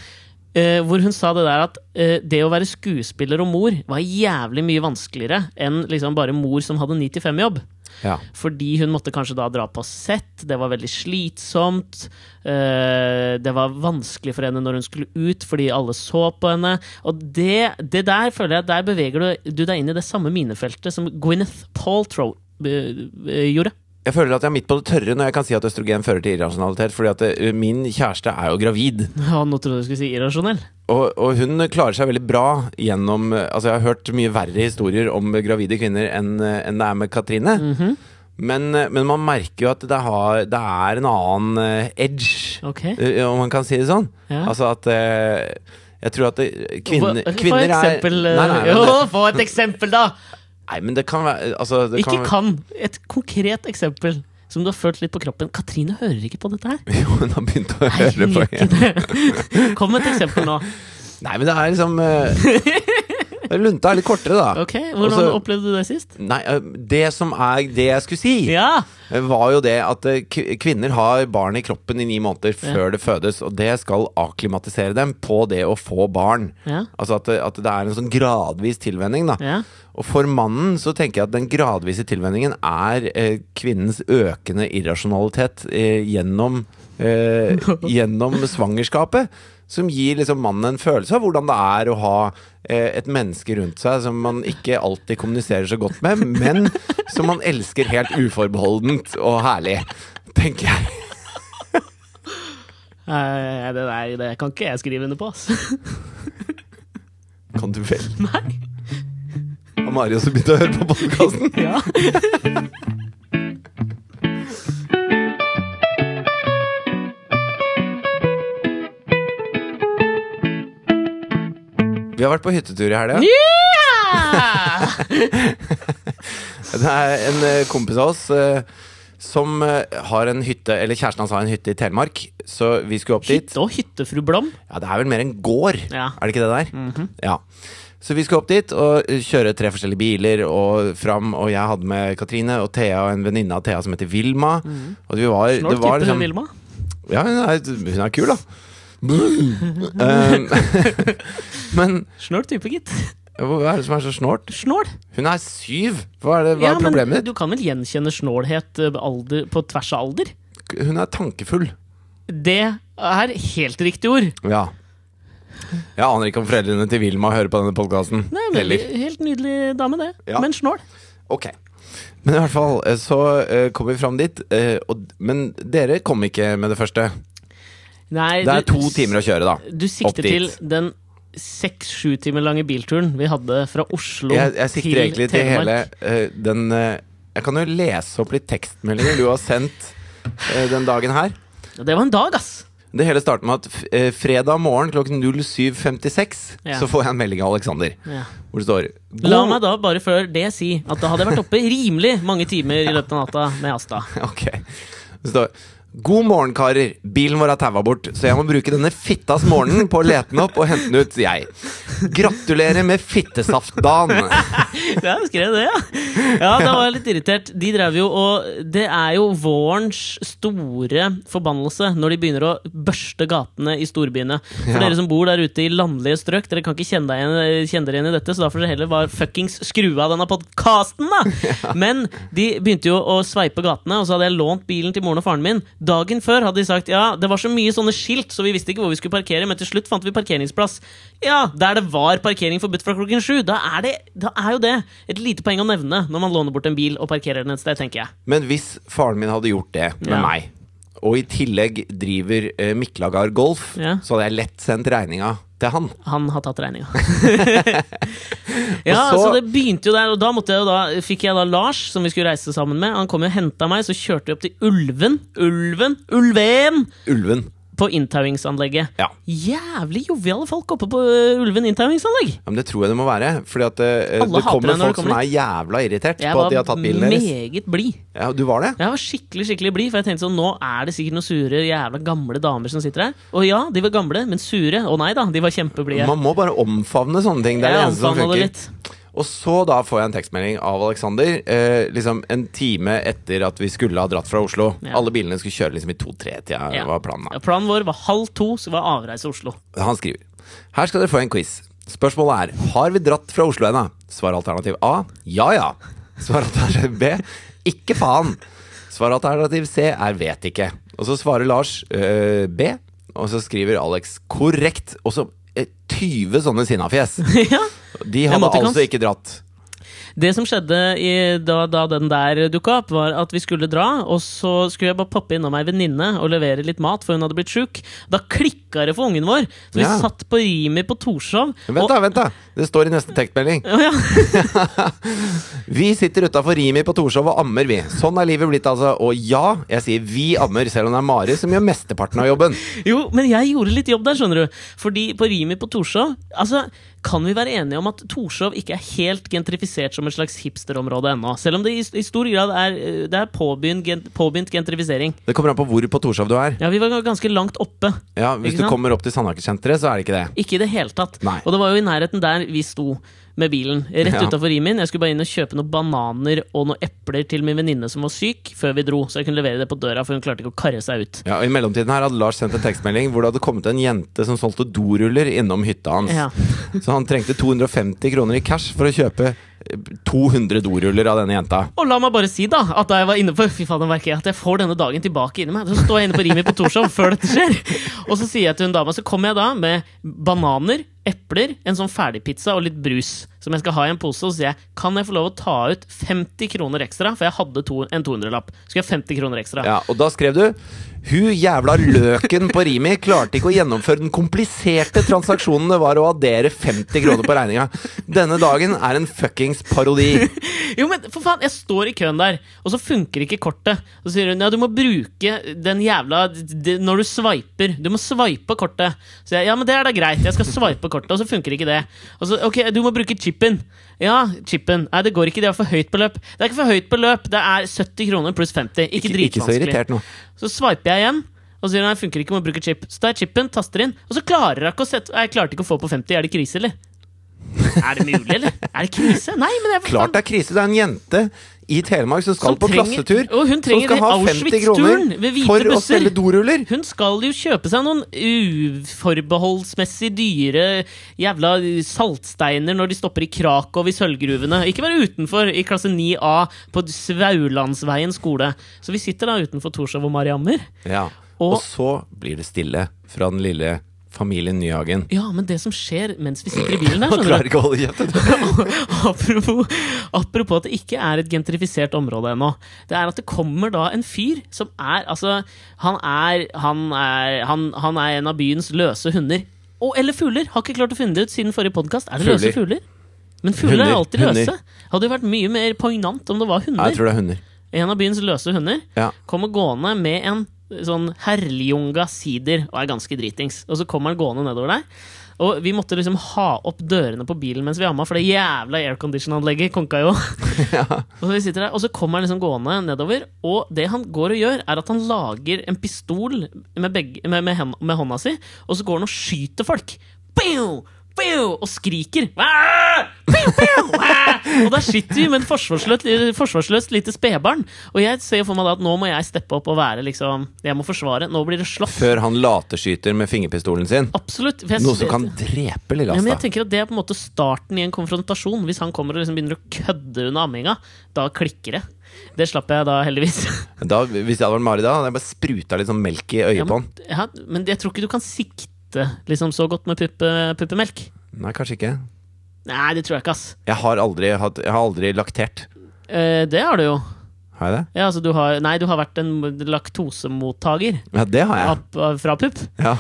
Speaker 2: Eh, hvor hun sa det der at eh, det å være skuespiller og mor var jævlig mye vanskeligere enn liksom bare mor som hadde 9-5-jobb.
Speaker 1: Ja.
Speaker 2: Fordi hun måtte kanskje da dra på sett, det var veldig slitsomt. eh, det var vanskelig for henne når hun skulle ut fordi alle så på henne. Og det, det der føler jeg, der beveger du, du deg inn i det samme minefeltet som Gwyneth Paltrow eh, eh, gjorde.
Speaker 1: Jeg føler at jeg er midt på det tørre når jeg kan si at østrogen fører til irrasjonalitet. Fordi at eh, min kjæreste er jo gravid,
Speaker 2: Ja, nå trodde jeg du skulle si irrasjonell.
Speaker 1: og, og hun klarer seg veldig bra
Speaker 2: Mhm,
Speaker 1: gjennom eh, Altså, jeg har hørt mye verre historier om eh, gravide kvinner enn eh, enn det er med Katrine. Men, men man merker jo at det, har, det er en annen eh, edge,
Speaker 2: Ok.
Speaker 1: eh, om man kan si det sånn.
Speaker 2: Ja.
Speaker 1: Altså at eh, Jeg tror at det, kvinner,
Speaker 2: Få-
Speaker 1: kvinner
Speaker 2: få et eksempel,
Speaker 1: er
Speaker 2: eh,
Speaker 1: nei, nei, men
Speaker 2: jo,
Speaker 1: det,
Speaker 2: få et eksempel, da!
Speaker 1: nei, men det kan være altså, det
Speaker 2: Ikke
Speaker 1: være-
Speaker 2: kan. Et konkret eksempel som du har følt litt på kroppen. Katrine hører ikke på dette her.
Speaker 1: Jo, hun har begynt å
Speaker 2: Nei,
Speaker 1: høre
Speaker 2: hun
Speaker 1: på
Speaker 2: gjør
Speaker 1: igjen.
Speaker 2: ikke det. Kom med et eksempel nå.
Speaker 1: Nei, men det er liksom eh, Lunta er litt kortere, da.
Speaker 2: Ok, Hvordan
Speaker 1: Også-
Speaker 2: opplevde du det sist?
Speaker 1: Nei, eh, det som er det jeg skulle si,
Speaker 2: Ja!
Speaker 1: eh, var jo det at eh, k- kvinner har barn i kroppen i ni måneder før det fødes, og det skal akklimatisere dem på det å få barn.
Speaker 2: Ja.
Speaker 1: Altså at, det- at det er en sånn gradvis tilvenning, da.
Speaker 2: ja.
Speaker 1: Og for mannen så tenker jeg at den gradvise tilvenningen er eh, kvinnens økende irrasjonalitet eh, gjennom, eh, gjennom svangerskapet. Som gir liksom mannen en følelse av hvordan det er å ha eh, et menneske rundt seg som man ikke alltid kommuniserer så godt med, men som man elsker helt uforbeholdent og herlig, tenker jeg.
Speaker 2: Nei, det der det kan ikke jeg skrive under på, ass.
Speaker 1: Kan du vel?
Speaker 2: Nei.
Speaker 1: Har Mari også begynt å høre på podkasten?
Speaker 2: Ja.
Speaker 1: Vi har vært på hyttetur i helga.
Speaker 2: Ja!
Speaker 1: Det er en eh, kompis av oss eh, som eh, har en hytte, eller kjæresten hans har en hytte i Telemark, så vi skulle opp dit.
Speaker 2: Hytte og hyttefru Blom.
Speaker 1: Ja, det er vel mer en gård,
Speaker 2: Ja. Mhm.
Speaker 1: er det ikke det der? Ja. Så vi skulle opp dit og eh, kjøre tre forskjellige biler og fram, og jeg hadde med Katrine og Thea og en venninne av Thea som heter Vilma. Og vi var,
Speaker 2: Snål
Speaker 1: det
Speaker 2: type,
Speaker 1: var
Speaker 2: Mhm. hun
Speaker 1: liksom
Speaker 2: Vilma.
Speaker 1: Ja, hun er, hun er kul, da. Um, men
Speaker 2: Snål type, gitt.
Speaker 1: hva er det som er så snålt?
Speaker 2: Snål.
Speaker 1: Hun er syv! Hva er, det, hva er
Speaker 2: Ja, men
Speaker 1: problemet ditt?
Speaker 2: Du kan vel gjenkjenne snålhet eh, alder, på tvers av alder?
Speaker 1: Hun er tankefull.
Speaker 2: Det er helt riktig ord.
Speaker 1: Ja. Jeg aner ikke om foreldrene til Vilma hører på denne podkasten.
Speaker 2: Nei, men Helt nydelig dame, det.
Speaker 1: Ja.
Speaker 2: Men snål.
Speaker 1: Ok. Men i hvert fall, eh, så eh, kom vi fram dit. eh, Og, men dere kom ikke med det første.
Speaker 2: Nei,
Speaker 1: Det er
Speaker 2: du-
Speaker 1: to timer å kjøre, da.
Speaker 2: Du
Speaker 1: Opp
Speaker 2: sikter
Speaker 1: dit.
Speaker 2: til den seks-sju timer lange bilturen vi hadde fra Oslo
Speaker 1: Jeg, jeg sikter egentlig til hele
Speaker 2: Telemark.
Speaker 1: eh, den eh, Jeg kan jo lese opp litt tekstmeldinger du har sendt eh, den dagen her.
Speaker 2: Og Det var en dag, ass!
Speaker 1: Det hele starter med at f- eh, fredag morgen klokken 07.56
Speaker 2: Ja.
Speaker 1: så får jeg en melding av Aleksander
Speaker 2: Ja.
Speaker 1: hvor det står
Speaker 2: La
Speaker 1: God-
Speaker 2: meg da bare før det si at da hadde jeg vært oppe rimelig mange timer i løpet av natta med Asta.
Speaker 1: Ok. Det står God morgen, karer. Bilen vår er taua bort, så jeg må bruke denne fittas morgenen på å lete den opp og hente den ut, sier jeg. Gratulerer med fittesaftdagen!
Speaker 2: Ja, jeg skrev det, ja. ja. Da var jeg litt irritert. De drev jo og Det er jo vårens store forbannelse når de begynner å børste gatene i storbyene. For
Speaker 1: Ja.
Speaker 2: dere som bor der ute i landlige strøk, dere kan ikke kjenne, deg igjen, kjenne dere igjen i dette, så da får dere heller bare fuckings skru av denne podkasten, da! Men de begynte jo å sveipe gatene, og så hadde jeg lånt bilen til moren og faren min. Dagen før hadde de sagt ja, det var så mye sånne skilt, så vi visste ikke hvor vi skulle parkere, men til slutt fant vi parkeringsplass. Ja, der det var parkering forbudt fra klokken sju! Da er, det, da er jo det et lite poeng å nevne når man låner bort en bil og parkerer den et sted, tenker jeg.
Speaker 1: Men hvis faren min hadde gjort det med
Speaker 2: Ja.
Speaker 1: meg, og i tillegg driver eh, Miklagard Golf,
Speaker 2: Ja.
Speaker 1: så hadde jeg lett sendt regninga til han.
Speaker 2: Han har tatt regninga. ja,
Speaker 1: Og
Speaker 2: så,
Speaker 1: så-
Speaker 2: det begynte jo der, og da, måtte jeg jo da fikk jeg da Lars, som vi skulle reise sammen med. Han kom jo og henta meg, så kjørte vi opp til Ulven. Ulven! Ulven!
Speaker 1: Ulven.
Speaker 2: På inntauingsanlegget.
Speaker 1: Ja.
Speaker 2: Jævlig joviale folk oppe på øh, Ulven inntauingsanlegg!
Speaker 1: ja, men det tror jeg det må være. Fordi at eh,
Speaker 2: Alle
Speaker 1: det
Speaker 2: hater
Speaker 1: kommer
Speaker 2: deg når du
Speaker 1: folk som
Speaker 2: kommer
Speaker 1: er jævla irritert
Speaker 2: Jeg
Speaker 1: på at de har
Speaker 2: var
Speaker 1: tatt bilen deres.
Speaker 2: meget blid.
Speaker 1: Ja, du var det?
Speaker 2: Jeg var skikkelig skikkelig blid, for jeg tenkte sånn, nå er det sikkert noen sure, jævla gamle damer som sitter her. Og ja, de var gamle, men sure. Å nei da, de var kjempeblide.
Speaker 1: Man må bare omfavne sånne ting. Det er det
Speaker 2: Jeg
Speaker 1: eneste som
Speaker 2: omfavna det
Speaker 1: funker.
Speaker 2: litt.
Speaker 1: Og så da får jeg en tekstmelding av Alexander eh, liksom en time etter at vi skulle ha dratt fra Oslo.
Speaker 2: Ja.
Speaker 1: Alle bilene skulle kjøre liksom i to-tre-tida.
Speaker 2: Ja.
Speaker 1: var planen da.
Speaker 2: Ja, planen vår var halv to, så var avreise Oslo.
Speaker 1: Han skriver Her skal dere få en quiz. Spørsmålet er Har vi dratt fra Oslo ennå? Svar alternativ A. Ja ja. Svar alternativ B. Ikke faen. Svar alternativ C er vet ikke. Og så svarer Lars eh, B, og så skriver Alex korrekt. Og så eh, 20 sånne sinnafjes.
Speaker 2: ja.
Speaker 1: De hadde
Speaker 2: Emoticons.
Speaker 1: altså ikke dratt.
Speaker 2: Det som skjedde i, da, da den der dukka opp, var at vi skulle dra, og så skulle jeg bare poppe innom ei venninne og levere litt mat, for hun hadde blitt sjuk. Da klikka det for ungen vår, så vi
Speaker 1: Ja.
Speaker 2: satt på Rimi på Torshov.
Speaker 1: Vent, da, vent da Det står i neste tekstmelding. vi sitter utafor Rimi på Torshov og ammer, vi. Sånn er livet blitt, altså. Og ja, jeg sier vi ammer, selv om det er Mari som gjør mesteparten av jobben.
Speaker 2: Jo, men jeg gjorde litt jobb der, skjønner du. Fordi på Rimi på Torshov Altså, kan vi være enige om at Torshov ikke er helt gentrifisert som et slags hipsterområde ennå? Selv om det i, i stor grad er, eh, det er påbegynt, gen, påbegynt gentrifisering.
Speaker 1: Det kommer an på hvor på Torshov du er.
Speaker 2: Ja, vi var ganske langt oppe.
Speaker 1: Ja, Hvis
Speaker 2: Ikke
Speaker 1: du
Speaker 2: sant?
Speaker 1: kommer opp til Sandaker-senteret, så er det ikke det.
Speaker 2: Ikke i det hele tatt.
Speaker 1: Nei.
Speaker 2: Og det var jo i nærheten der vi sto med bilen. Rett
Speaker 1: Ja.
Speaker 2: utafor Rimin. Jeg skulle bare inn og kjøpe noen bananer og noen epler til min venninne som var syk, før vi dro. Så jeg kunne levere det på døra, for hun klarte ikke å karre seg ut.
Speaker 1: Ja, og I mellomtiden her hadde Lars sendt en tekstmelding hvor det hadde kommet en jente som solgte doruller innom hytta hans.
Speaker 2: Ja.
Speaker 1: Så han trengte 250 kroner i cash for å kjøpe eh, 200 doruller av denne jenta.
Speaker 2: Og la meg bare si da at da jeg var inne på Fy faen, nå merker jeg at jeg får denne dagen tilbake inni meg. Så står jeg inne på Rimi på Torshov før dette skjer. Og så sier jeg til hun dama, så kommer jeg da med bananer, epler, en sånn ferdigpizza og litt brus. Som jeg skal ha i en pose. Og så sier jeg kan jeg få lov å ta ut 50 kroner ekstra, for jeg hadde to, en 200-lapp. Så Skal jeg ha 50 kroner ekstra.
Speaker 1: Ja, og da skrev du Hun jævla løken på Rimi klarte ikke å gjennomføre den kompliserte transaksjonen det var å addere 50 kroner på regninga. Denne dagen er en fuckings parodi.
Speaker 2: Jo, men for faen, jeg står i køen der, og så funker ikke kortet. Og så sier hun ja, du må bruke den jævla d- d- Når du sveiper. Du må sveipe kortet. Så jeg ja, men det er da greit, jeg skal sveipe kortet, og så funker ikke det. Og så ok, du må bruke chipen. Ja, chipen. Nei, det går ikke, det er for høyt beløp. Det er ikke for høyt beløp, det er 70 kroner pluss 50. Ikke,
Speaker 1: Ikke så
Speaker 2: dritvanskelig.
Speaker 1: irritert nå.
Speaker 2: Så sveiper jeg igjen. Og sier hun, nei, funker ikke, må bruke chip. Så tar jeg chipen, taster inn, og så klarer jeg ikke å sette Jeg klarte ikke å få på 50. Er det krise, eller? Er det mulig, eller? Er det krise? Nei, men jeg
Speaker 1: Klart det er krise. Det er en jente i Telemark som skal
Speaker 2: Som
Speaker 1: på
Speaker 2: trenger-
Speaker 1: klassetur.
Speaker 2: og hun
Speaker 1: som
Speaker 2: trenger
Speaker 1: skal ha 50 kroner
Speaker 2: Auschwitz-turen ved hvite
Speaker 1: for å
Speaker 2: busser.
Speaker 1: selge doruller.
Speaker 2: Hun skal jo kjøpe seg noen uforbeholdsmessig dyre jævla saltsteiner når de stopper i Krakow i sølvgruvene. Ikke være utenfor i klasse 9A på Svaulandsveien skole. Så vi sitter da utenfor Torshov og Mariammer.
Speaker 1: Ja. Og,
Speaker 2: Og-
Speaker 1: så blir det stille fra den lille familien Nyhagen.
Speaker 2: Ja, men det som skjer mens vi sitter i bilen der,
Speaker 1: Han klarer
Speaker 2: skjønner du
Speaker 1: ikke å holde kjeft. vet du.
Speaker 2: apropos, apropos at det ikke er et gentrifisert område ennå. Det er at det kommer da en fyr som er Altså, han er Han er, han, han er en av byens løse hunder. Og, eller fugler! Har ikke klart å finne det ut siden forrige podkast. Er det løse
Speaker 1: Fugler.
Speaker 2: fugler? Men fugler
Speaker 1: Hunder,
Speaker 2: er alltid
Speaker 1: hunder.
Speaker 2: løse. Hadde jo vært mye mer poignant om det var
Speaker 1: Nei, jeg
Speaker 2: hunder.
Speaker 1: tror det er hunder.
Speaker 2: En av byens løse hunder
Speaker 1: Ja.
Speaker 2: kommer gående med en sånn herljunga sider og er ganske dritings. Og så kommer han gående nedover der. Og vi måtte liksom ha opp dørene på bilen mens vi amma, for det jævla aircondition-anlegget konka jo. og, så vi sitter der, og så kommer han liksom gående nedover, og det han går og gjør, er at han lager en pistol med, begge, med, med, hen- med hånda si, og så går han og skyter folk. Pew! Pew! Og skriker. «Aah! Pew, pew! Aah!» Og der sitter vi med et forsvarsløst, forsvarsløst lite spedbarn. Og jeg ser for meg da at nå må jeg steppe opp og være liksom Jeg må forsvare. Nå blir det slått.
Speaker 1: Før han laterskyter med fingerpistolen sin.
Speaker 2: Absolutt. for jeg-
Speaker 1: Noe som kan drepe lille
Speaker 2: ja, men jeg
Speaker 1: Asta.
Speaker 2: tenker at Det er på en måte starten i en konfrontasjon. Hvis han kommer og liksom begynner å kødde under amminga, da klikker det. Det slapp jeg da, heldigvis.
Speaker 1: Da, hvis jeg hadde vært Mari da, hadde jeg bare spruta litt sånn melk i øyet
Speaker 2: Ja,
Speaker 1: på
Speaker 2: men,
Speaker 1: han.
Speaker 2: ja, men jeg tror ikke du kan sikte liksom, så godt med puppe, puppemelk.
Speaker 1: Nei, kanskje ikke.
Speaker 2: Nei, det tror jeg ikke, ass.
Speaker 1: Jeg har aldri, hatt, jeg har aldri laktert.
Speaker 2: Eh, det har du jo.
Speaker 1: Har jeg det?
Speaker 2: Ja, altså du har, nei, du har vært en laktosemottaker
Speaker 1: Ja, det har jeg.
Speaker 2: av- av- fra pupp.
Speaker 1: Ja.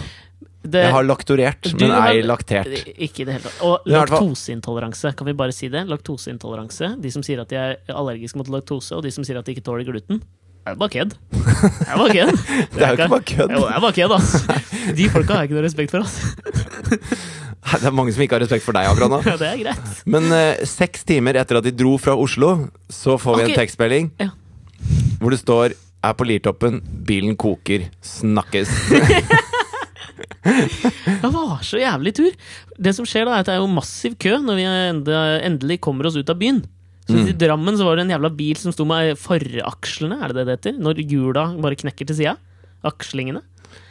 Speaker 2: Det,
Speaker 1: Jeg har laktorert,
Speaker 2: Du
Speaker 1: men
Speaker 2: har-
Speaker 1: ei laktert.
Speaker 2: Ikke i det hele tatt. Og
Speaker 1: Men i hvert fall-
Speaker 2: laktoseintoleranse, kan vi bare si det? Laktoseintoleranse. De som sier at de er allergiske mot laktose, og de som sier at de ikke tåler gluten. Det er jo bare kødd. Det er bare kødd.
Speaker 1: Det er jo ikke bare kødd.
Speaker 2: Jo, det er bare kødd, ass. De folka har jeg ikke noe respekt for, altså. ass.
Speaker 1: Nei, Det er mange som ikke har respekt for deg akkurat nå.
Speaker 2: Ja, det er greit.
Speaker 1: Men eh, seks timer etter at de dro fra Oslo, så får vi
Speaker 2: Ok.
Speaker 1: en tekstmelding
Speaker 2: Ja.
Speaker 1: hvor det står er på Liertoppen, bilen koker, snakkes.
Speaker 2: Det var så jævlig tur. Det som skjer da, er at det er jo massiv kø når vi enda, endelig kommer oss ut av byen. Så I Drammen så var det en jævla bil som sto med forakslene, er det det det heter? Når hjula bare knekker til sida. Akslingene.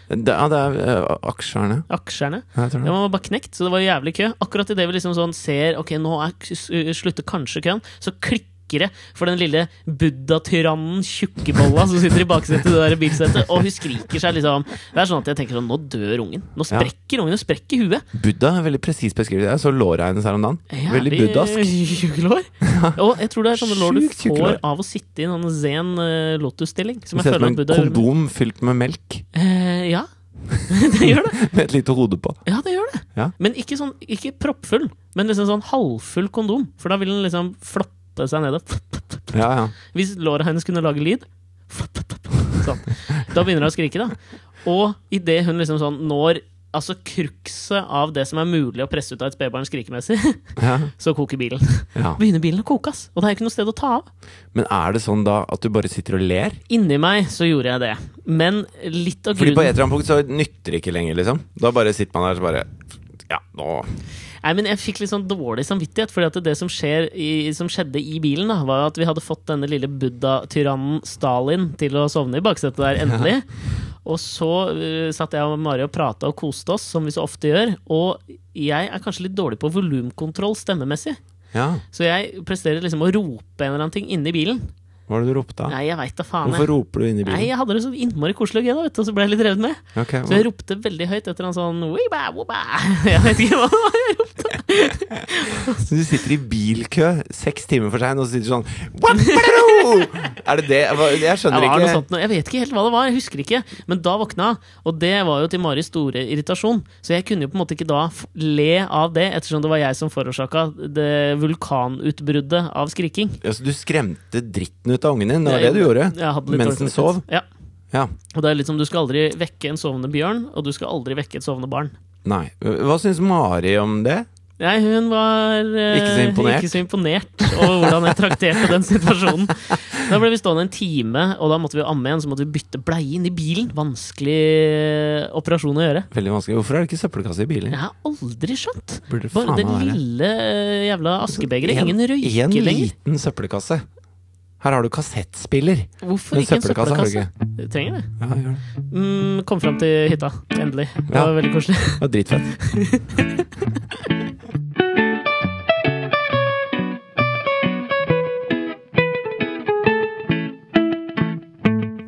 Speaker 1: Det, ja, det er eh, aksjerne.
Speaker 2: Aksjerne.
Speaker 1: Ja, jeg tror
Speaker 2: Ja,
Speaker 1: det.
Speaker 2: man var bare knekt, så det var jævlig kø. Akkurat idet vi liksom sånn ser Ok, nå er, s- slutter kanskje køen, så klikker det for den lille buddha-tyrannen tjukkebolla som sitter i baksetet i det der bilsetet, og hun skriker seg liksom Det er sånn at jeg tenker sånn Nå dør ungen. Nå
Speaker 1: Ja.
Speaker 2: sprekker ungen. Nå sprekker huet.
Speaker 1: Buddha er veldig presis beskrevet. Jeg så låra hennes her om dagen. Veldig buddhask.
Speaker 2: Tjukkelår. Og jeg tror det er sånne lår du
Speaker 1: Sjukt
Speaker 2: får
Speaker 1: tjukkelår.
Speaker 2: av å sitte i en sånn zen eh, lotus-stilling. Som
Speaker 1: Ser ut
Speaker 2: jeg føler
Speaker 1: som
Speaker 2: at
Speaker 1: en
Speaker 2: Buddha gjorde.
Speaker 1: kondom fylt med melk.
Speaker 2: Eh, ja. det gjør det.
Speaker 1: med et lite hode på.
Speaker 2: Ja, det gjør det.
Speaker 1: Ja.
Speaker 2: Men ikke, sånn, ikke proppfull, men liksom sånn halvfull kondom. For da vil den liksom floppe seg ned.
Speaker 1: Ja, ja.
Speaker 2: Hvis låret hennes kunne lage lyd sånn. Da begynner hun å skrike, da. Og idet hun liksom sånn når altså krukset av det som er mulig å presse ut av et spedbarn skrikemessig,
Speaker 1: ja,
Speaker 2: så koker bilen.
Speaker 1: ja.
Speaker 2: Begynner bilen å koke, ass. Og det er ikke noe sted å ta av.
Speaker 1: Men er det sånn da at du bare sitter og ler?
Speaker 2: Inni meg så gjorde jeg det. Men litt av
Speaker 1: Fordi på
Speaker 2: grunnen
Speaker 1: et eller annet punkt så nytter det ikke lenger, liksom. Da bare sitter man der og så bare Ja, nå
Speaker 2: Nei, men jeg fikk litt sånn dårlig samvittighet, fordi at det som, skjer i, som skjedde i bilen, da, var jo at vi hadde fått denne lille buddha-tyrannen Stalin til å sovne i baksetet der, endelig. Og så eh, satt jeg og Mari og prata og koste oss, som vi så ofte gjør. Og jeg er kanskje litt dårlig på volumkontroll stemmemessig,
Speaker 1: Ja,
Speaker 2: så jeg presterer liksom å rope en eller annen ting inni bilen.
Speaker 1: hva var det du ropte da?
Speaker 2: Nei, jeg veit da faen.
Speaker 1: Hvorfor
Speaker 2: Jeg.
Speaker 1: roper du inn i
Speaker 2: Nei,
Speaker 1: bilen?
Speaker 2: jeg hadde det så innmari koselig og gøy, da, vet du, og så ble jeg litt revet med.
Speaker 1: Ok,
Speaker 2: Så jeg ropte veldig høyt etter en sånn «Wiba, woba». Jeg vet ikke hva det var.
Speaker 1: Så du sitter i bilkø seks timer for sein, og så sitter du sånn «Wappadoo!» Er det det? Hva- Jeg
Speaker 2: Ja,
Speaker 1: skjønner
Speaker 2: var det noe
Speaker 1: ikke.
Speaker 2: sånt, nå? jeg vet ikke helt hva det var, jeg husker ikke. Men da våkna jeg, og det var jo til Maris store irritasjon. Så jeg kunne jo på en måte ikke da f- le av det, ettersom det var jeg som forårsaka det vulkanutbruddet av skriking.
Speaker 1: Ja, så du skremte dritten ut av ungen din? Det var det du gjorde?
Speaker 2: Jeg hadde litt
Speaker 1: Mens
Speaker 2: dårlig
Speaker 1: den
Speaker 2: samvittighet.
Speaker 1: sov?
Speaker 2: Ja.
Speaker 1: Ja.
Speaker 2: Og det er litt som du skal aldri vekke en sovende bjørn, og du skal aldri vekke et sovende barn.
Speaker 1: Nei. Hva syns Mari om det?
Speaker 2: Nei, hun var eh,
Speaker 1: Ikke så imponert.
Speaker 2: ikke så imponert over hvordan jeg trakterte den situasjonen. Da ble vi stående en time, og da måtte vi amme igjen, så måtte vi bytte bleie inn i bilen. Vanskelig eh, operasjon å gjøre.
Speaker 1: Veldig vanskelig. Hvorfor er det ikke søppelkasse i bilen?
Speaker 2: Jeg har aldri skjønt.
Speaker 1: Burde
Speaker 2: Bare
Speaker 1: faen Altså,
Speaker 2: den
Speaker 1: meg være.
Speaker 2: lille eh, jævla askebegeret.
Speaker 1: En-
Speaker 2: Ingen røyker
Speaker 1: En
Speaker 2: lenger.
Speaker 1: liten søppelkasse. Her har du kassettspiller.
Speaker 2: Hvorfor
Speaker 1: Men
Speaker 2: ikke en
Speaker 1: søppelkasse har du
Speaker 2: søppelkasse?
Speaker 1: ikke.
Speaker 2: Du trenger det.
Speaker 1: Ja, gjør det.
Speaker 2: Mm, kom fram til hytta. Endelig. Det
Speaker 1: Ja.
Speaker 2: var veldig koselig.
Speaker 1: det var dritfett.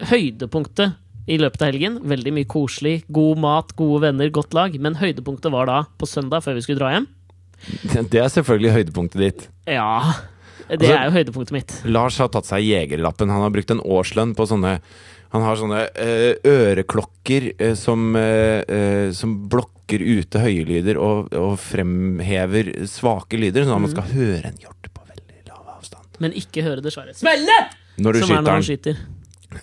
Speaker 2: Høydepunktet i løpet av helgen. Veldig mye koselig. God mat, gode venner, godt lag. Men høydepunktet var da på søndag, før vi skulle dra hjem.
Speaker 1: Det- Det er selvfølgelig høydepunktet ditt.
Speaker 2: Ja. Det
Speaker 1: Altså-
Speaker 2: er jo høydepunktet mitt.
Speaker 1: Lars har tatt seg jegerlappen. Han har brukt en årslønn på sånne Han har sånne eh, øreklokker eh, som, eh, eh, som blokker ute høye lyder og, og fremhever svake lyder, sånn at
Speaker 2: Mm.
Speaker 1: man skal høre en hjort på veldig lav avstand
Speaker 2: Men ikke høre det svære smellet!
Speaker 1: når du
Speaker 2: Som er
Speaker 1: skyter
Speaker 2: når
Speaker 1: den.
Speaker 2: man skyter.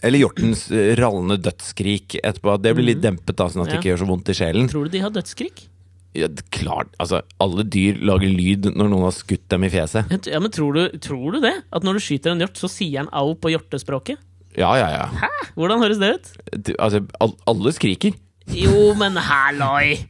Speaker 1: Eller hjortens eh, rallende dødsskrik etterpå. Det blir litt dempet, da, sånn at det
Speaker 2: Mhm. Ja.
Speaker 1: ikke gjør så vondt i sjelen.
Speaker 2: Tror du de har dødsskrik?
Speaker 1: Ja, det- klart, altså Alle dyr lager lyd når noen har skutt dem i fjeset.
Speaker 2: Jeg t- Ja, men tror du, tror du det? At når du skyter en hjort, så sier den au på hjortespråket?
Speaker 1: Ja, ja, ja.
Speaker 2: Hvordan høres det ut?
Speaker 1: Du, altså, al alle skriker.
Speaker 2: Jo, men halloi!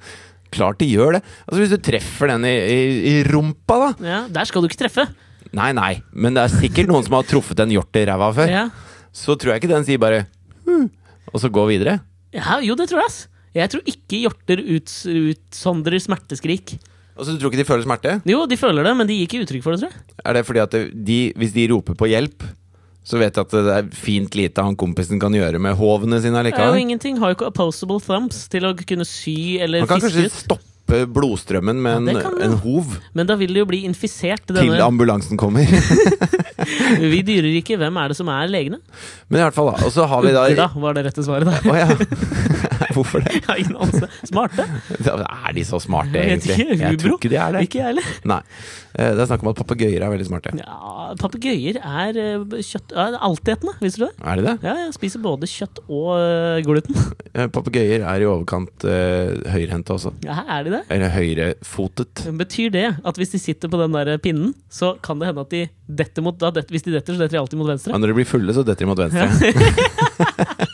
Speaker 1: Klart de gjør det. Altså Hvis du treffer den i, i, i rumpa, da
Speaker 2: Ja, der skal du ikke treffe.
Speaker 1: Nei, nei, men det er sikkert noen som har truffet en hjort i ræva før.
Speaker 2: Ja.
Speaker 1: Så tror jeg ikke den sier bare «Hm», og så går videre.
Speaker 2: Ja, jo, det tror jeg. ass. Jeg tror ikke hjorter uts utsondrer smerteskrik.
Speaker 1: Og så Altså, Du tror ikke de føler smerte?
Speaker 2: Jo, de føler det, men de gir ikke uttrykk for det, tror jeg.
Speaker 1: Er det fordi at de, hvis de roper på hjelp, så vet jeg at det er fint lite han kompisen kan gjøre med hovene sine
Speaker 2: Det er
Speaker 1: allikevel?
Speaker 2: jo ingenting. Har jo ikke opposable thumbs til å kunne sy eller
Speaker 1: Man kan
Speaker 2: fiske
Speaker 1: kanskje
Speaker 2: ut.
Speaker 1: stoppe blodstrømmen med
Speaker 2: Ja,
Speaker 1: en,
Speaker 2: det kan man.
Speaker 1: en hov
Speaker 2: Men da vil det jo bli infisert.
Speaker 1: til
Speaker 2: Denne.
Speaker 1: ambulansen kommer.
Speaker 2: Vi dyrer ikke. Hvem er det som er legene?
Speaker 1: Men i hvert fall, da. Og så har vi da
Speaker 2: Ugla var det rette svaret der.
Speaker 1: Å ja. Hvorfor det?
Speaker 2: Jeg har ingen anelse. Smarte?
Speaker 1: Da Er de så smarte,
Speaker 2: Jeg vet
Speaker 1: egentlig?
Speaker 2: ikke.
Speaker 1: Jeg tror
Speaker 2: Hubro?
Speaker 1: ikke de er det.
Speaker 2: Ikke jeg heller.
Speaker 1: Nei. Eh, Det er snakk om at papegøyer er veldig smarte.
Speaker 2: Ja, Papegøyer er eh, kjøtt... ja, Altetende, visste du det?
Speaker 1: Er de det?
Speaker 2: Ja, jeg spiser både kjøtt og eh, gluten.
Speaker 1: Eh, Papegøyer er i overkant eh, høyrehendte også.
Speaker 2: Ja, er de det?
Speaker 1: Eller høyrefotet.
Speaker 2: Betyr det at hvis de sitter på den der pinnen, så kan det hende at de detter mot da, det, Hvis de detter, så detter de alltid mot venstre?
Speaker 1: Og når de blir fulle, så detter de mot venstre.